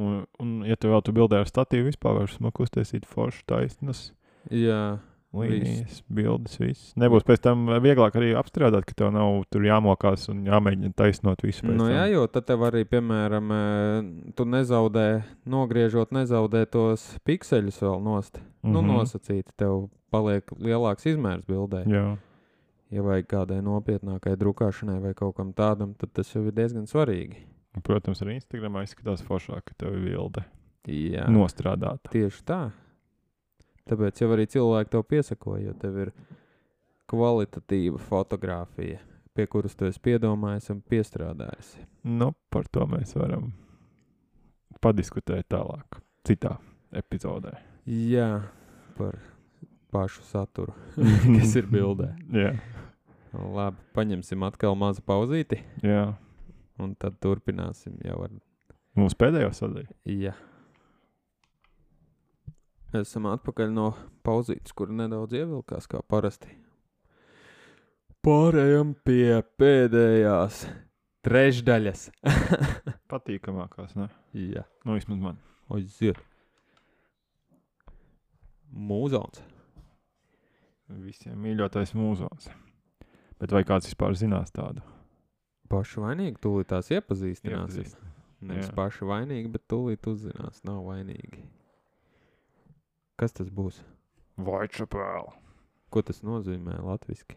Speaker 2: un, un, ja tu vēl tu bildē ar statīvu, vispār var smaku uztaisīt foršu taisnas.
Speaker 1: Jā,
Speaker 2: līnijas, bildes, viss. Nebūs pēc tam vieglāk arī apstrādāt, ka tev nav tur jāmokās un jāmēģina taisnot visu. pēc
Speaker 1: Nu, jā,
Speaker 2: tam.
Speaker 1: jo tad tev arī, piemēram, eh, tu nezaudē, nogriežot, nezaudē tos pikseļus vēl nost. Mm -hmm. Nu,
Speaker 2: Mhm.
Speaker 1: nosacīti tev paliek lielāks izmērs bildē.
Speaker 2: Jā.
Speaker 1: Ja vajag kādai nopietnākai drukāšanai vai kaut kam tādam, tad tas jau ir diezgan svarīgi.
Speaker 2: Un, Protams, arī Instagramā izskatās foršāk, ka tev ir bilde
Speaker 1: Jā,
Speaker 2: Nu. nostrādāta.
Speaker 1: tieši tā. Tāpēc jau arī cilvēki tev piesako, jo tev ir kvalitatīva fotografija, pie kuras tu esi piedomājis un piestrādājis.
Speaker 2: Nu, par to mēs varam padiskutēt tālāk, citā epizodē.
Speaker 1: Jā, par pašu saturu, kas ir bildē.
Speaker 2: jā,
Speaker 1: Labi, paņemsim atkal mazu pauzīti,
Speaker 2: jā.
Speaker 1: un tad turpināsim jau ar.
Speaker 2: Mums pēdējā sadaļa.
Speaker 1: Jā. Esam atpakaļ no pauzītes, kur nedaudz ievilkās, kā parasti. Pārējām pie pēdējās trešdaļas.
Speaker 2: Patīkamākās, ne?
Speaker 1: Jā,
Speaker 2: Nu, vismaz man.
Speaker 1: aiziet. Mūzons.
Speaker 2: Visiem mīļotais mūzons. Bet vai kāds vispār zinās tādu?
Speaker 1: Pašu vainīgi tūlīt tās iepazīstināsim.
Speaker 2: Iepazīst.
Speaker 1: Nevis
Speaker 2: Jā.
Speaker 1: paši vainīgi, bet tūlīt uzzinās, nav vainīgi. Kas tas būs?
Speaker 2: Vaičapēl.
Speaker 1: Ko tas nozīmē latviešu?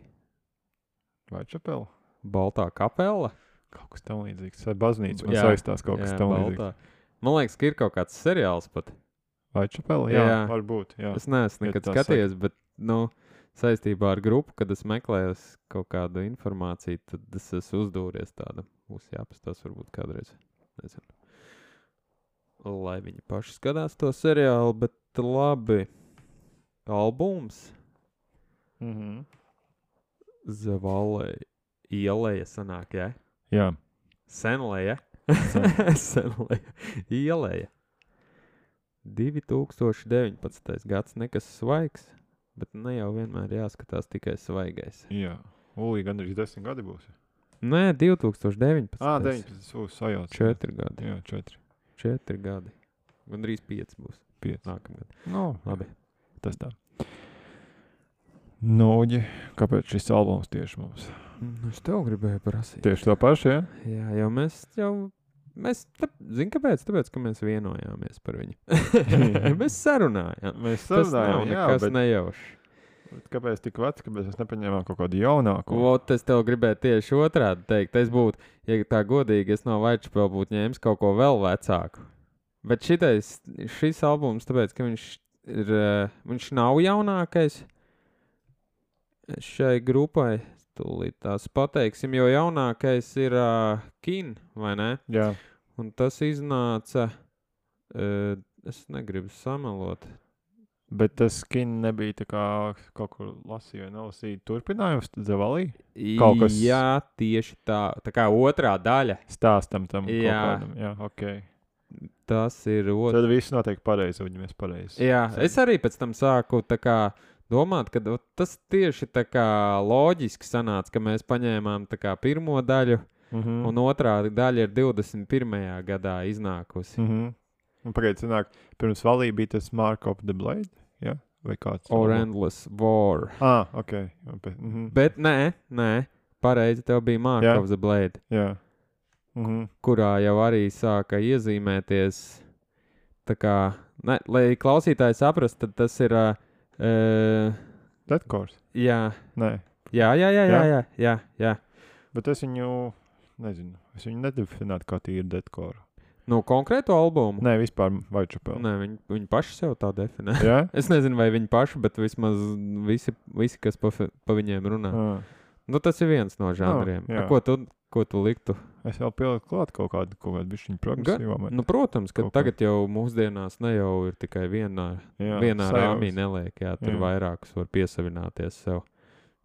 Speaker 2: Vaičapēl?
Speaker 1: Baltā kapela.
Speaker 2: Kaut kas tam līdzīgs. Vai baznīca man
Speaker 1: Jā.
Speaker 2: saistās kaut kas
Speaker 1: Jā,
Speaker 2: tam līdzīgs?
Speaker 1: baltā. Man liekas, ka ir kaut kāds seriāls pat.
Speaker 2: Vaičapēl? Jā, jā,
Speaker 1: Jā.
Speaker 2: varbūt. Jā.
Speaker 1: Jā. Es neesmu
Speaker 2: Ja
Speaker 1: nekad
Speaker 2: tā
Speaker 1: skatījies, bet nu, saistībā ar grupu, kad es meklēju s- kaut kādu informāciju, tad es esmu uzdūries tādu. Būs jāpastāsta, varbūt kādreiz. Nezinu. Lai viņi paši skatās to seriālu, bet labi. Albums.
Speaker 2: Mm -hmm.
Speaker 1: Zvaigznes ielēja sanāk, jā.
Speaker 2: jā.
Speaker 1: Senlēja.
Speaker 2: Sen.
Speaker 1: Senlēja. Ielēja. 2019. gads nekas svaigs, bet ne jau vienmēr jāskatās tikai svaigais.
Speaker 2: jā. Ulī, gandrīz desmit gadi būs.
Speaker 1: Nē, 2019.
Speaker 2: Ah, 19. Uz sajauts.
Speaker 1: 4 gadi.
Speaker 2: Jā, 4.
Speaker 1: 4 gadi. Gan drīz 5 būs
Speaker 2: 5.
Speaker 1: nākamgad.
Speaker 2: No,
Speaker 1: Labi.
Speaker 2: tas tā. Noģi, kāpēc šis albums tieši mums?
Speaker 1: Nu, es tev gribēju prasīt.
Speaker 2: Tieši to pašu, jā?
Speaker 1: Jā, jau mēs jau. Mēs zinām, kāpēc? Tāpēc, ka mēs vienojāmies par viņu. mēs sarunājām.
Speaker 2: Mēs
Speaker 1: Tas nav
Speaker 2: sarunājām, jā,
Speaker 1: nekas
Speaker 2: bet
Speaker 1: bet... nejaušs.
Speaker 2: kāpēc tik vecs, kāpēc mēs nepaņēmām kaut kādu jaunāku?
Speaker 1: Vot es tev gribēju tieši otrādi teikt. Es būtu, ja tā godīgi, es no Vaičpēla būtu ņēmis kaut ko vēl vecāku. Bet šitais, šis albums, tāpēc, ka viņš ir, eh, viņš nav jaunākais šai grupai, tūlīt tās pateiksim, jo jaunākais ir uh, Kin, vai ne?
Speaker 2: Jā,
Speaker 1: Un tas iznāca, uh, es negribu samalot.
Speaker 2: bet tas skin nebija tā kā kaut kur lasīju, vai nelasīju. Turpinājums Zavalī Kaut kas-
Speaker 1: Jā, tieši tā, tā kā otrā daļa.
Speaker 2: stāstam tam kaut
Speaker 1: Jā.
Speaker 2: kādam. Jā, ok.
Speaker 1: Tas ir otrs.
Speaker 2: Tad viss notiek pareizi, un mēs pareizi.
Speaker 1: Jā,
Speaker 2: Sen.
Speaker 1: es arī pēc tam sāku tā kā domāt, ka ot tas tieši tā kā loģiski sanāca, ka mēs paņēmām tā kā pirmo daļu,
Speaker 2: Mm
Speaker 1: mm.
Speaker 2: -hmm.
Speaker 1: un otrā daļa ir 21. gadā iznākusi. Mm.
Speaker 2: Mhm. Un Pagaidiet, senāk, pirms valī bija tas Mark of the Blade, ja? vai kāds
Speaker 1: Or Endless War.
Speaker 2: Ah, ok. Un pēc- Mhm.
Speaker 1: Bet nē, nē, pareizi tev bija
Speaker 2: Jā.
Speaker 1: Mārkovs Blade,
Speaker 2: Jā. Mhm.
Speaker 1: kurā jau arī sāka iezīmēties. Tā kā, ne, lai klausītāji saprastu, tad tas ir. Uh, uh,
Speaker 2: Dead Course.
Speaker 1: jā,
Speaker 2: Nē.
Speaker 1: jā, jā, jā, jā, jā, jā, jā.
Speaker 2: Bet es viņu, nezinu, es viņu nedefinētu kā tīru Dead Course.
Speaker 1: Nu, konkrētu albumu.
Speaker 2: Nē, vispār Vaičapēlu.
Speaker 1: Nē, viņi, viņi paši sev tā definē.
Speaker 2: Jā?
Speaker 1: Es nezinu, vai viņi paši, bet vismaz visi, visi kas pa, fe- pa viņiem runā.
Speaker 2: Ah.
Speaker 1: Nu, tas ir viens no žanriem.
Speaker 2: jā.
Speaker 1: Oh, ko, tu, ko tu liktu?
Speaker 2: Es vēl pieliku klāt kaut kādu, kaut kādu bišķiņu progresīvā. man-
Speaker 1: Nu, protams, ka
Speaker 2: Kaut ko.
Speaker 1: tagad jau mūsdienās ne jau ir tikai vienā,
Speaker 2: Jā,
Speaker 1: vienā
Speaker 2: sajauc.
Speaker 1: rāmī neliek. Jā, tur
Speaker 2: Jā.
Speaker 1: jā. vairākus var piesavināties sev.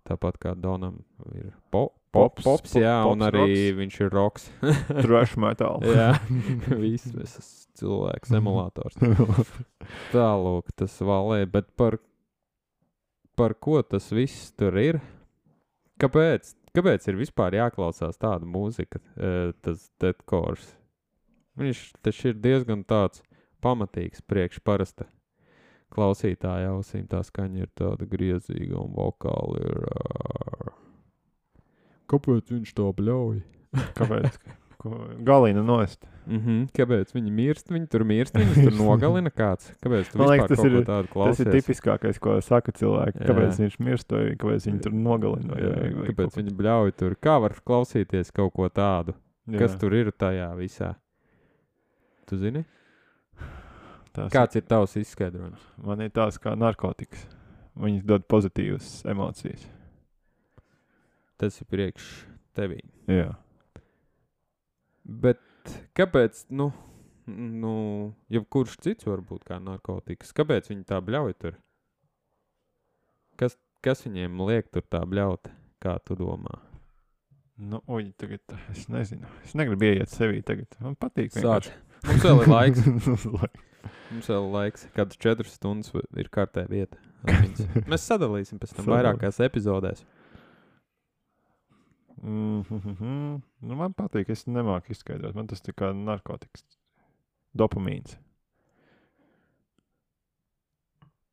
Speaker 1: Tāpat kā Donam ir po, po,
Speaker 2: Pops,
Speaker 1: pops, pops,
Speaker 2: po-
Speaker 1: jā,
Speaker 2: pops,
Speaker 1: un arī roks. viņš ir roks.
Speaker 2: Trash metal.
Speaker 1: jā, viss esmu cilvēks, emulators. Tālāk, tas valē, bet par, par ko tas viss tur ir? Kāpēc, kāpēc ir vispār jāklausās tāda mūzika, eh, tas deadkors? Viņš taču ir diezgan tāds pamatīgs priekš parasta klausītāja ausīm tā skaņa ir tāda griezīga un vokāli ir. ā, Kāpēc viņš to bļauj?
Speaker 2: Kāpēc? Ko- Galīna nost.
Speaker 1: Mm -hmm. Kāpēc viņi mirst? Viņi tur mirst, viņus tur nogalina kāds. Kāpēc tu
Speaker 2: Man
Speaker 1: vispār liekas,
Speaker 2: liekas,
Speaker 1: kaut
Speaker 2: tas ir-
Speaker 1: ko tādu
Speaker 2: Tas
Speaker 1: klausies?
Speaker 2: ir tipiskākais, ko saka cilvēki.
Speaker 1: Jā.
Speaker 2: Kāpēc viņš mirst, vai kāpēc viņi tur nogalina? Vai,
Speaker 1: Nu, Jā,
Speaker 2: vai, vai
Speaker 1: kāpēc viņi bļauj tur? Kā var klausīties kaut ko tādu? Jā.
Speaker 2: viņi,
Speaker 1: Kas tur ir tajā visā? Tu zini?
Speaker 2: Tas
Speaker 1: Kāds ir tavs izskaidrojums?
Speaker 2: Man ir tās kā narkotikas. Viņas dod pozitīvas emocijas.
Speaker 1: Tas ir priekš tevī.
Speaker 2: Jā.
Speaker 1: Bet kāpēc, nu, nu jebkurš cits var būt kā narkotikas? Kāpēc viņi tā bļauj tur? Kas, kas viņiem liek tur tā bļaut? Kā tu domā?
Speaker 2: Nu, uj, tagad es nezinu. Es negribu ieiet sevī tagad. Man patīk.
Speaker 1: Sāc. Mums vēl ir laiks.
Speaker 2: Laiks.
Speaker 1: Mums vēl ir laiks. Kādas četras stundas v- ir kārtē vieta. ar viņas. Mēs sadalīsim pēc tam vairākās epizodēs.
Speaker 2: Mm -hmm. nu, man patīk. Es nemāku izskaidrot. Man tas ir kā narkotikas. Dopamīns.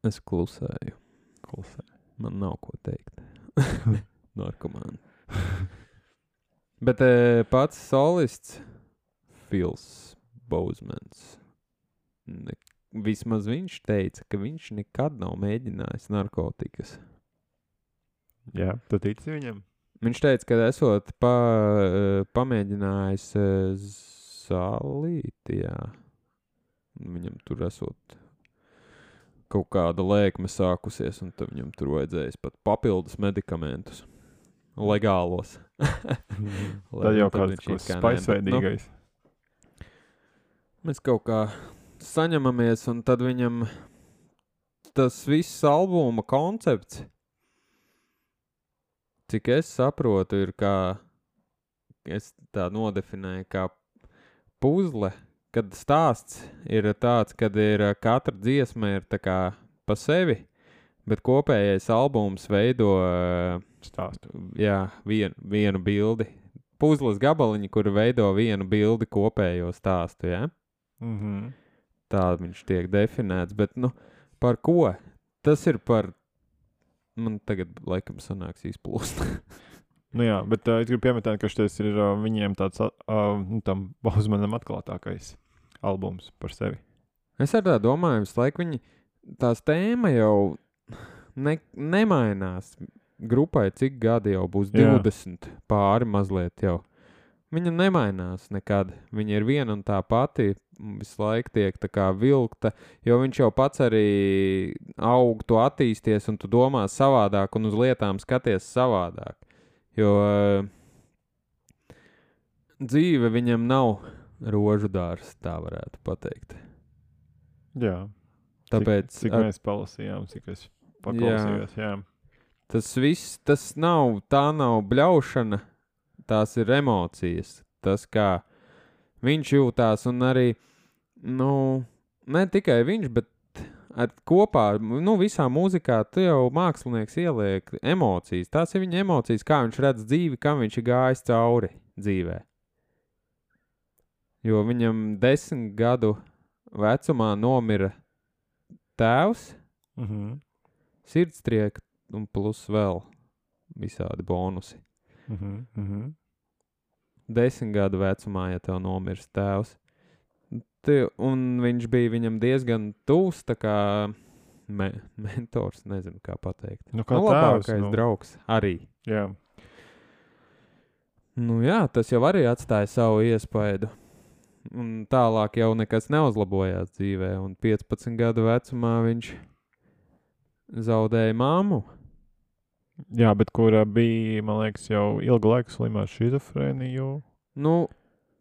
Speaker 1: Es klusēju.
Speaker 2: Klusē.
Speaker 1: Man nav ko teikt. Narkomāni. Bet eh, pats solists Fils Bozmans. Ne, vismaz viņš teica, ka viņš nekad nav mēģinājis narkotikas.
Speaker 2: Jā, tu tici viņam?
Speaker 1: Viņš teica, ka esot pa, eh, pamēģinājis eh, zālītijā. Viņam tur esot kaut kāda lēkme sākusies, un tad viņam tur vajadzēja pat papildus medikamentus. Legālos. Lai
Speaker 2: Tad jau
Speaker 1: nu
Speaker 2: kāds
Speaker 1: viņš it kā nē, bet, nu,
Speaker 2: spaisveidīgais.
Speaker 1: Mēs kaut kā saņemamies, un tad viņam tas viss albuma koncepts, cik es saprotu, ir kā es tā nodefinēju, kā puzle. Kad stāsts ir tāds, kad ir eh, katra dziesma ir tā kā pa sevi, bet kopējais albums veido eh,
Speaker 2: Stāstu.
Speaker 1: jā, vien, vienu bildi. Puzles gabaliņu, kur veido vienu bildi kopējo stāstu. Ja?
Speaker 2: Mm -hmm.
Speaker 1: tā viņš tiek definēts. Bet nu, par ko? Tas ir par. Man tagad, laikam, sanāks izplūst.
Speaker 2: Nu jā, bet uh, es gribu pieminēt, ka šis ir uh, viņiem tāds uh, nu, tam Bausmanam atklātākais albums par sevi.
Speaker 1: es ar tā domāju, visu laiku viņi. Tās tēma jau ne, nemainās. Grupai cik gadi jau būs
Speaker 2: Jā.
Speaker 1: 20 pāri mazliet jau. Viņa nemainās nekad. Viņa ir viena un tā pati. Visu laiku tiek tā kā vilkta, jo viņš jau pats arī aug, tu attīsties un tu domā savādāk un uz lietām skaties savādāk. Jo eh, dzīve viņam nav rožu dārsts, tā varētu pateikt.
Speaker 2: Jā.
Speaker 1: Tāpēc
Speaker 2: Cik, cik
Speaker 1: ar-
Speaker 2: mēs palasījām, cik es paklausījos. Jā.
Speaker 1: Tas viss, tas nav, tā nav bļaušana, tās ir emocijas. Tas, kā viņš jūtās, un arī, nu, ne tikai viņš, bet ar kopā, nu, visā mūzikā, tu jau mākslinieks ieliek emocijas. Tās ir viņa emocijas, kā viņš redz dzīvi, kam viņš ir gājis cauri dzīvē. Jo viņam desmit gadu vecumā nomira tēvs,
Speaker 2: Mm -hmm.
Speaker 1: sirdstrieka un plus vēl visādi bonusi.
Speaker 2: Mm -hmm. Mm -hmm.
Speaker 1: Desmit gadu vecumā, ja tev nomirst tēvs, Te- un viņš bija viņam diezgan tūs, tā kā me mentors, nezinu, kā pateikt.
Speaker 2: Nu, kā
Speaker 1: Nu,
Speaker 2: tēvs,
Speaker 1: labākais
Speaker 2: nu,
Speaker 1: draugs arī.
Speaker 2: jā.
Speaker 1: Nu, jā, tas jau arī atstāja savu iespaidu. Un tālāk jau nekas neuzlabojās dzīvē, un 15 gadu vecumā viņš zaudēja māmu.
Speaker 2: jā, bet kura bija, man liekas, jau ilgu laiku slimā ar schizofrēniju
Speaker 1: Nu,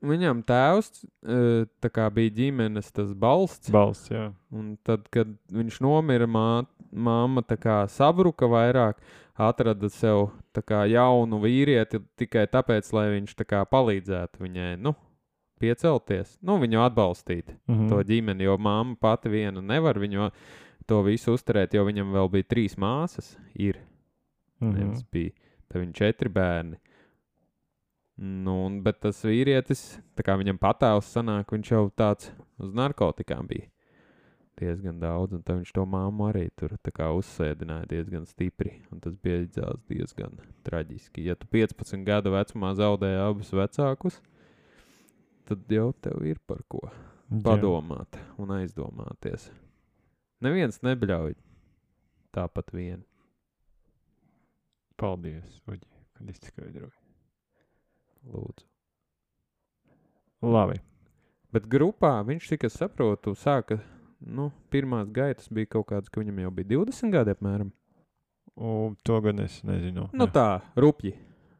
Speaker 1: viņam tēvs eh, tā kā bija ģimenes tas balsts.
Speaker 2: balsts. Jā.
Speaker 1: Un tad, kad viņš nomira, mā, māma tā kā sabruka vairāk, atrada sev tā kā jaunu vīrieti tikai tāpēc, lai viņš tā kā palīdzētu viņai, nu, piecelties, nu, viņu atbalstīt
Speaker 2: Mm
Speaker 1: to ģimeni, jo māma pati viena nevar viņu to visu uzturēt, jo viņam vēl bija trīs māsas. Ir.
Speaker 2: Mm
Speaker 1: Nevis bija tad viņa četri bērni. Nu, un, bet tas vīrietis, tā kā viņam patēvs sanāk, viņš jau tāds uz narkotikām bija. diezgan daudz, un tad viņš to māmu arī tur tā kā uzsēdināja diezgan stipri. Un tas beidzās diezgan traģiski. Ja tu 15 gadu vecumā zaudēji abus vecākus, tad jau tev ir par ko padomāt un aizdomāties. Neviens nebļauj tāpat vien.
Speaker 2: Paldies, Uģi, kad izskaidroji.
Speaker 1: Lūdzu.
Speaker 2: Labi.
Speaker 1: Bet grupā viņš, cik es saprotu, sāka nu, pirmās gaitas bija kaut kādas, ka viņam jau bija 20 gadi apmēram.
Speaker 2: U, to gan es nezinu.
Speaker 1: Nu,
Speaker 2: Jā.
Speaker 1: tā, rupji,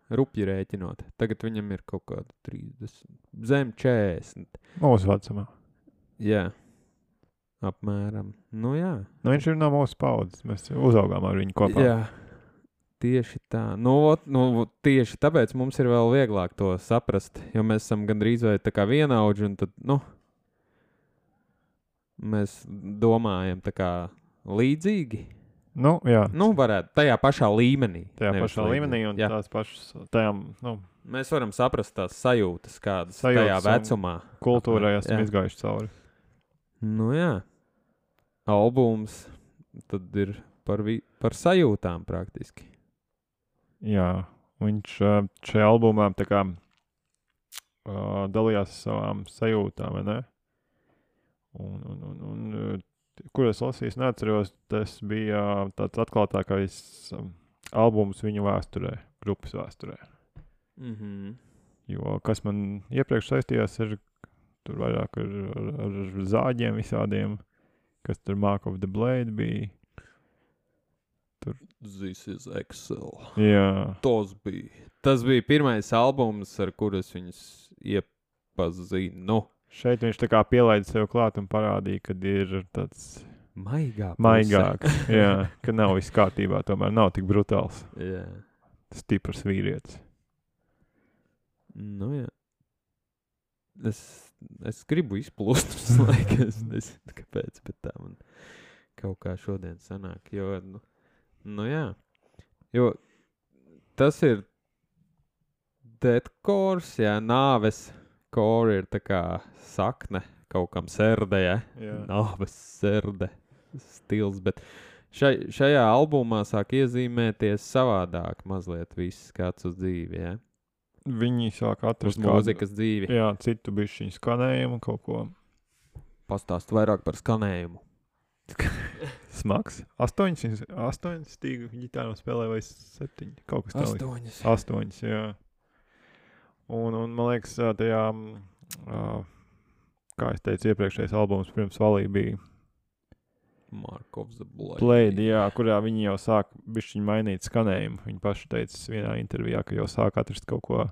Speaker 1: rupji rēķinot. Tagad viņam ir kaut kāda 30, zem 40.
Speaker 2: Mūsu vecumā.
Speaker 1: Jā, apmēram. Nu, jā.
Speaker 2: Nu, viņš ir no mūsu paudzes. Mēs uzaugām ar viņu kopā.
Speaker 1: jā. Tieši tā. Nu, vot, nu, tieši tāpēc mums ir vēl vieglāk to saprast, jo mēs esam gandrīz vai tā kā vienaudži, un tad, nu, mēs domājam tā kā līdzīgi.
Speaker 2: Nu, jā.
Speaker 1: Nu, varētu tajā pašā līmenī.
Speaker 2: Tajā
Speaker 1: nevis
Speaker 2: pašā
Speaker 1: līdzīgi.
Speaker 2: līmenī un
Speaker 1: Jā.
Speaker 2: tās pašas, tajām, nu,
Speaker 1: Mēs varam saprast tās sajūtas, kādas ir
Speaker 2: Sajūtas
Speaker 1: tajā
Speaker 2: un-
Speaker 1: vecumā.
Speaker 2: kultūrā esam
Speaker 1: Jā.
Speaker 2: izgājuši cauri.
Speaker 1: Nu, jā, albums tad ir par, vi... par sajūtām praktiski.
Speaker 2: Jā, viņš ā, šajā albumā tā kā ā, dalījās ar savām sajūtām, vai ne? Un, un, un, un ā, kur es lasīju, es neatceros, tas bija ā, tāds atklātākais ā, albums viņu vēsturē, grupas vēsturē.
Speaker 1: Mm -hmm.
Speaker 2: Jo kas man iepriekš saistījās ar, tur vairāk ar, ar, ar zāģiem visādiem, kas tur Mark of the Blade bija.
Speaker 1: This is Excel.
Speaker 2: Jā,
Speaker 1: Tas bija. Tas bija pirmais albums, ar kuru es viņus iepazinu.
Speaker 2: šeit viņš tā kā pielaida sev klāt un parādīja, ka ir tāds
Speaker 1: Maigāk.
Speaker 2: maigāks. Jā, ka nav viss kārtībā, tomēr nav tik brutāls,
Speaker 1: jā.
Speaker 2: stiprs vīrietis.
Speaker 1: Nu, jā. Es, es gribu izplūst uz laiku. Es nezinu, kāpēc, bet tā man kaut kā šodien sanāk. Jo, nu, nu jā. Jo tas ir deathkors, jā, nāves kora ir tā kā sakne kaut kam sērdē, jā. Nāves sirde stils. Bet šai, šajā albumā sāk iezīmēties savādāk mazliet viss skats uz dzīvi, jā.
Speaker 2: Viņi sāk
Speaker 1: Uz
Speaker 2: atrast
Speaker 1: mūzikas dzīvi.
Speaker 2: Kādu, jā, citu bišķiņu skanējumu, kaut ko
Speaker 1: pastāst vairāk par skanējumu.
Speaker 2: smags. Astoņas, astoņas stīgu ģitāru spēlē vai septiņi, kaut kas tāds.
Speaker 1: Astoņas.
Speaker 2: Astoņas, jā. Un, un man liekas, ā, tajā, mm, ā, kā es teicu, iepriekšējais albums pirms valī bija
Speaker 1: Markovs
Speaker 2: Plaid, jā, kurā viņi jau sāk bišķiņu mainīt skanējumu. Viņi paši teica vienā intervijā, ka jau sāk atrast kaut ko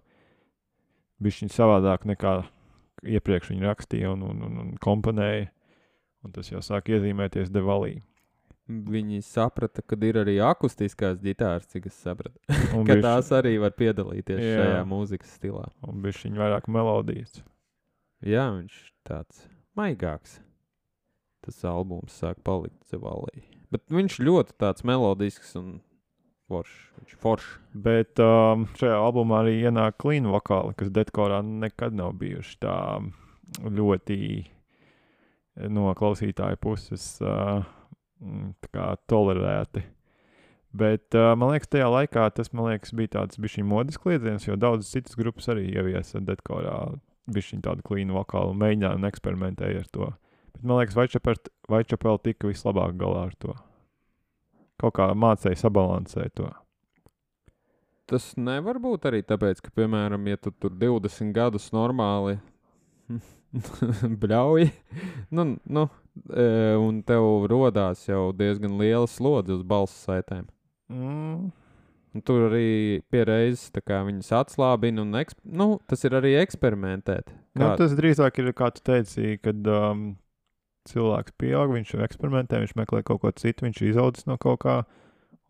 Speaker 2: bišķiņu savādāk nekā iepriekš viņi rakstīja un, un, un, un komponēja. Un tas jau sāk iezīmēties devalī.
Speaker 1: Viņi saprata, ka ir arī akustiskās ģitāras, cik es sapratu.
Speaker 2: Un
Speaker 1: Ka
Speaker 2: bišķi-
Speaker 1: tās arī var piedalīties
Speaker 2: Jā.
Speaker 1: Jā. šajā mūzikas stilā.
Speaker 2: Un bišķiņu vairāk melodijas.
Speaker 1: Jā, viņš tāds maigāks. Tas albums sāk palikt zevalī. Bet viņš ļoti tāds melodisks un foršs. Viņš foršs.
Speaker 2: Bet um, šajā albumā arī ienāk klīna vokāli, kas dekorā nekad nav bijuši tā um, ļoti no klausītāja puses uh, mm, tā kā tolerēti. Bet uh, man liekas, tajā laikā tas man liekas, bija tāds bijis modes kliedziens, jo daudzas citas grupas arī ieviesa dekorā bišķiņu tādu klīnu vokālu, mēģināja un eksperimentēja ar to. Bet man liekas, Vaičapelt- Vaičapel tika vislabāk galā ar to. Kaut kā mācēja sabalansēt to.
Speaker 1: Tas nevar būt arī tāpēc, ka, piemēram, ja tu tur 20 gadus normāli bļauji, nu, nu, e, un tev rodās jau diezgan liela slodze uz balss saitēm.
Speaker 2: Mm,
Speaker 1: Un tur arī pierādījis, kā viņas atslābina, un eksp... nu, tas ir arī eksperimentēt.
Speaker 2: nu,
Speaker 1: Kā-
Speaker 2: tas drīzāk ir kā tu teici, kad um, cilvēks pieaug, viņš jau eksperimentē, viņš meklē kaut ko citu, viņš ir izaudzis no kaut kā,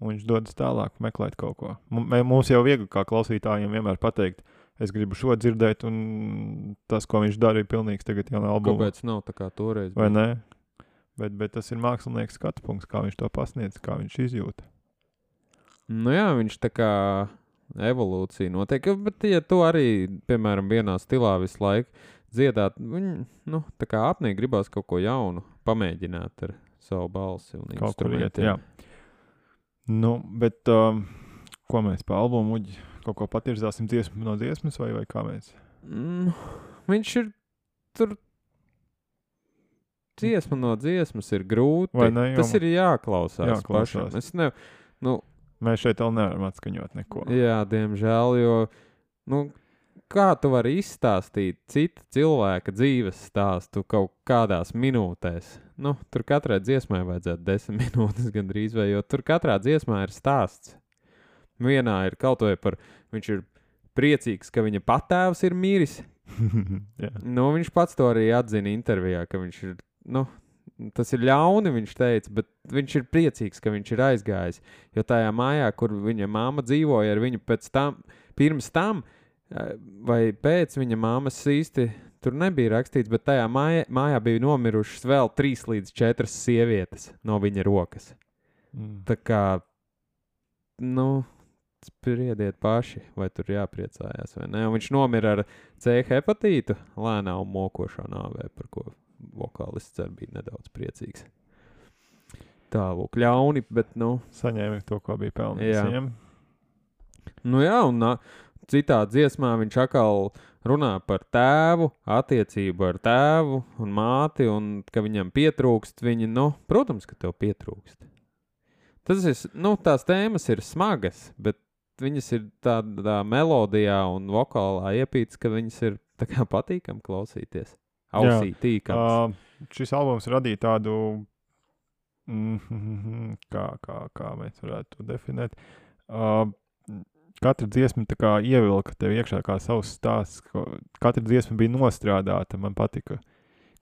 Speaker 2: un viņš dodas tālāk meklēt kaut ko. Mu- mē- Mums jau viegli kā klausītājiem vienmēr pateikt, es gribu šo dzirdēt, un tas, ko viņš darīja, ir pilnīgs tagad jaunā albumā.
Speaker 1: Kāpēc nav tā kā toreiz?
Speaker 2: Nu. Vai ne? Bet, bet tas ir mākslinieks skatu punkts, kā viņš to pasniedz, kā viņš izjūt.
Speaker 1: Nu, jā, viņš tā kā evolūcija notiek. Bet, ja tu arī, piemēram, vienā stilā visu laiku dziedāt, viņi nu, tā kā apnīk gribās kaut ko jaunu, pamēģināt ar savu balsi un
Speaker 2: Kaut kur iet,
Speaker 1: instrumentiem.
Speaker 2: jā. Nu, bet um, ko mēs pa albumu uģi? Kaut ko patirzāsim dziesmu no dziesmas, vai, vai kā mēs?
Speaker 1: Mm, viņš ir tur. Dziesma no dziesmas ir grūti.
Speaker 2: Vai ne, jo-
Speaker 1: Tas ir jāklausās,
Speaker 2: Jāklausās.
Speaker 1: jāklausās. pašam. Es ne, nu,
Speaker 2: Mēs šeit vēl nevaram atskaņot neko.
Speaker 1: Jā, diemžēl, jo nu, kā tu vari izstāstīt citu cilvēku dzīves stāstu kaut kādās minūtēs? Nu, tur katrai dziesmai vajadzētu desmit minūtes gandrīz, vai jo tur katrā dziesmā ir stāsts. Vienā ir kaut vai par viņš ir priecīgs, ka viņa patēvs ir miris.
Speaker 2: jā.
Speaker 1: Nu, viņš pats to arī atzina intervijā, ka viņš ir. Nu, tas ir ļauni, viņš teica, bet viņš ir priecīgs, ka viņš ir aizgājis. Jo tajā mājā, kur viņa māma dzīvoja ar viņu pēc tam, pirms tam, eh, vai pēc viņa māmas īsti tur nebija rakstīts, bet tajā mājā, mājā bija nomirušas vēl trīs līdz četras sievietes no viņa rokas.
Speaker 2: Mm.
Speaker 1: Tā kā, nu, spriediet paši, vai tur jāpriecājās vai nē. Un viņš nomira ar C hepatītu, lēnā un mokošā nāvē, par ko vokālists arī bija nedaudz priecīgs. Tālāk, ļauni, bet, nu,
Speaker 2: Saņēma to, ko bija
Speaker 1: Jā.
Speaker 2: pelnījis.
Speaker 1: nu jā, un nā- citā dziesmā viņš atkal runā par tēvu, attiecību ar tēvu un māti, un ka viņam pietrūkst viņa, nu, protams, ka tev pietrūkst. Tas ir, s- nu, tās tēmas ir smagas, bet viņas ir tādā melodijā un vokālā iepīts, ka viņas ir tā kā patīkami klausīties. Ausī tīkams.
Speaker 2: Uh, šis albums radīja tādu, mm, kā, kā, kā mēs varētu to definēt. Uh, katra dziesma tā kā ievilka tev iekšā kā savs stāsts. ko- Katra dziesma bija nostrādāta. Man patika,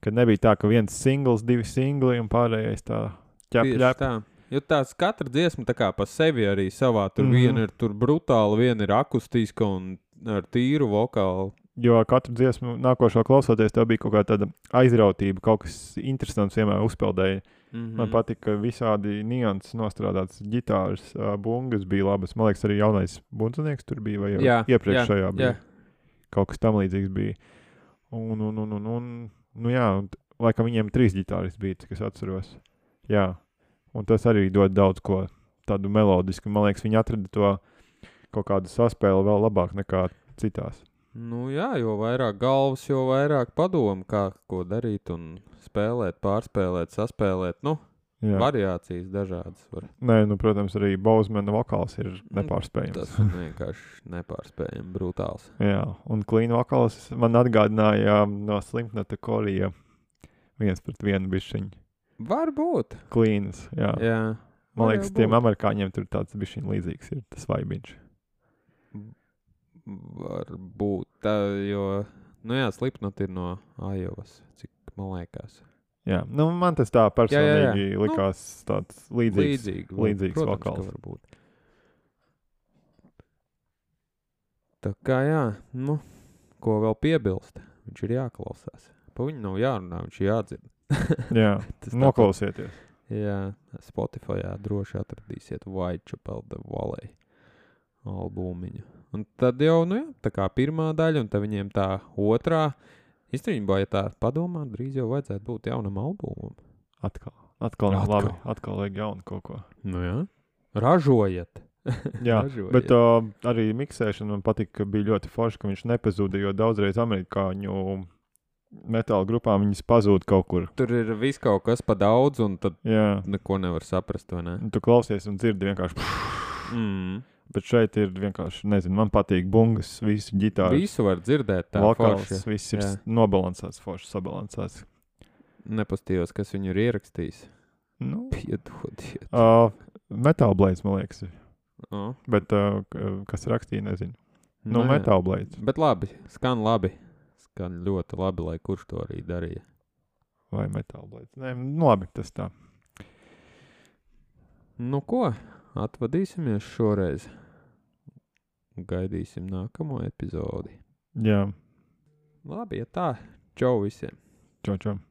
Speaker 2: ka nebija tā, ka viens singls, divi singli un pārējais tā
Speaker 1: Tieši
Speaker 2: ķepļa.
Speaker 1: tā. Jo tās katra dziesma tā kā pa sevi arī savā. Tur mm
Speaker 2: Mhm.
Speaker 1: -hmm. viena ir tur brutāla, viena ir akustiska un ar tīru vokālu.
Speaker 2: Jo katru dziesmu nākošo klausoties, tev bija kaut kā tāda aizrautība, kaut kas interesants vienmēr uzpeldēja.
Speaker 1: Mm
Speaker 2: Man patika, ka visādi nianses nostrādāts, gitāras, ā, bungas bija labas. Man liekas, arī jaunais bundzinieks tur bija, vai
Speaker 1: Jā,
Speaker 2: jau iepriekšējā bija. Kaut kas tam līdzīgs bija. Un, un, un, un, un nu jā, un, t- laikam viņiem trīs gitāras bija, cik es atceros. Jā, un tas arī dod daudz ko tādu melodisku. Man liekas, viņi atrada to kaut kādu saspēli vēl labāk nekā citās.
Speaker 1: Nu, jā, jo vairāk galvas, jo vairāk padomu, kā ko darīt un spēlēt, pārspēlēt, saspēlēt. Nu,
Speaker 2: Jā.
Speaker 1: variācijas dažādas var.
Speaker 2: Nē, nu, protams, arī Bausmana vokāls ir
Speaker 1: Mm.
Speaker 2: nepārspējams.
Speaker 1: Tas ir vienkārši nepārspējami brutāls.
Speaker 2: Jā, un klīna vokāls man atgādināja um, no slimnata korija viens pret vienu bišķiņu.
Speaker 1: Varbūt.
Speaker 2: Klīnas, jā. jā.
Speaker 1: Jā.
Speaker 2: Man
Speaker 1: var
Speaker 2: liekas,
Speaker 1: jau
Speaker 2: tiem
Speaker 1: būt.
Speaker 2: amerikāņiem tur tāds bišķiņu līdzīgs ir tas vaibiņš.
Speaker 1: Varbūt. Tā, jo, nu jā, slipnot ir no Ajovas, cik man liekas.
Speaker 2: Jā, nu man tas tā
Speaker 1: jā.
Speaker 2: personīgi jā, jā, jā.
Speaker 1: Nu,
Speaker 2: likās nu, tāds līdzīgs.
Speaker 1: Līdzīgi,
Speaker 2: Līdzīgi. līdzīgs
Speaker 1: protams, ka
Speaker 2: vokāls.
Speaker 1: varbūt. Tā kā jā, nu, ko vēl piebilst? Viņš ir jāklausās. Pa viņu nav jārunā, viņš ir jādzird.
Speaker 2: Jā,
Speaker 1: Tas
Speaker 2: noklausieties.
Speaker 1: tāpat- Jā, Spotify droši atradīsiet Whitechapel The Valley albumiņu. Un tad jau, nu jā, tā kā pirmā daļa, un tad viņiem tā otrā. Īstenībā, ja tā padomā, drīz jau vajadzētu būt jaunam albumam.
Speaker 2: Atkal. Atkal, nav
Speaker 1: Atkal.
Speaker 2: labi. Atkal vajag jaunu kaut ko.
Speaker 1: Nu jā. Ražojiet!
Speaker 2: Jā,
Speaker 1: Ražojiet.
Speaker 2: bet uh, arī miksēšana man patika, ka bija ļoti forši, ka viņš nepazuda, jo daudzreiz amerikāņu metāla grupām viņas pazūd kaut kur.
Speaker 1: Tur ir viss kaut kas pa daudz, un tad
Speaker 2: Jā.
Speaker 1: neko nevar saprast. vai Ne?
Speaker 2: Un Tu klausies un dzirdi vienkārši.
Speaker 1: Mm.
Speaker 2: Bet šeit ir vienkārši, nezinu, man patīk bungas, visas ģitāras,
Speaker 1: Visu var dzirdēt, tā
Speaker 2: vokāls,
Speaker 1: forši.
Speaker 2: viss ir
Speaker 1: Jā.
Speaker 2: s- nobalansēts, forši sabalansēts.
Speaker 1: Nepastījos, kas viņu ir ierakstījis.
Speaker 2: Nu,
Speaker 1: Piedodiet.
Speaker 2: uh, Metāla blīds, man liekas, ir.
Speaker 1: Oh.
Speaker 2: bet uh, k- kas rakstīja, nezinu. Nu, metāla blīds.
Speaker 1: Bet labi, skan labi. Skan ļoti labi, lai kurš to arī darīja.
Speaker 2: Vai metāla blīds. Nē, nu, labi, tas tā.
Speaker 1: Nu ko, atvadīsimies šoreiz. Gaidīsim nākamo epizodi.
Speaker 2: Jā,
Speaker 1: Labi, ja tā. Čau visiem!
Speaker 2: čau, čau.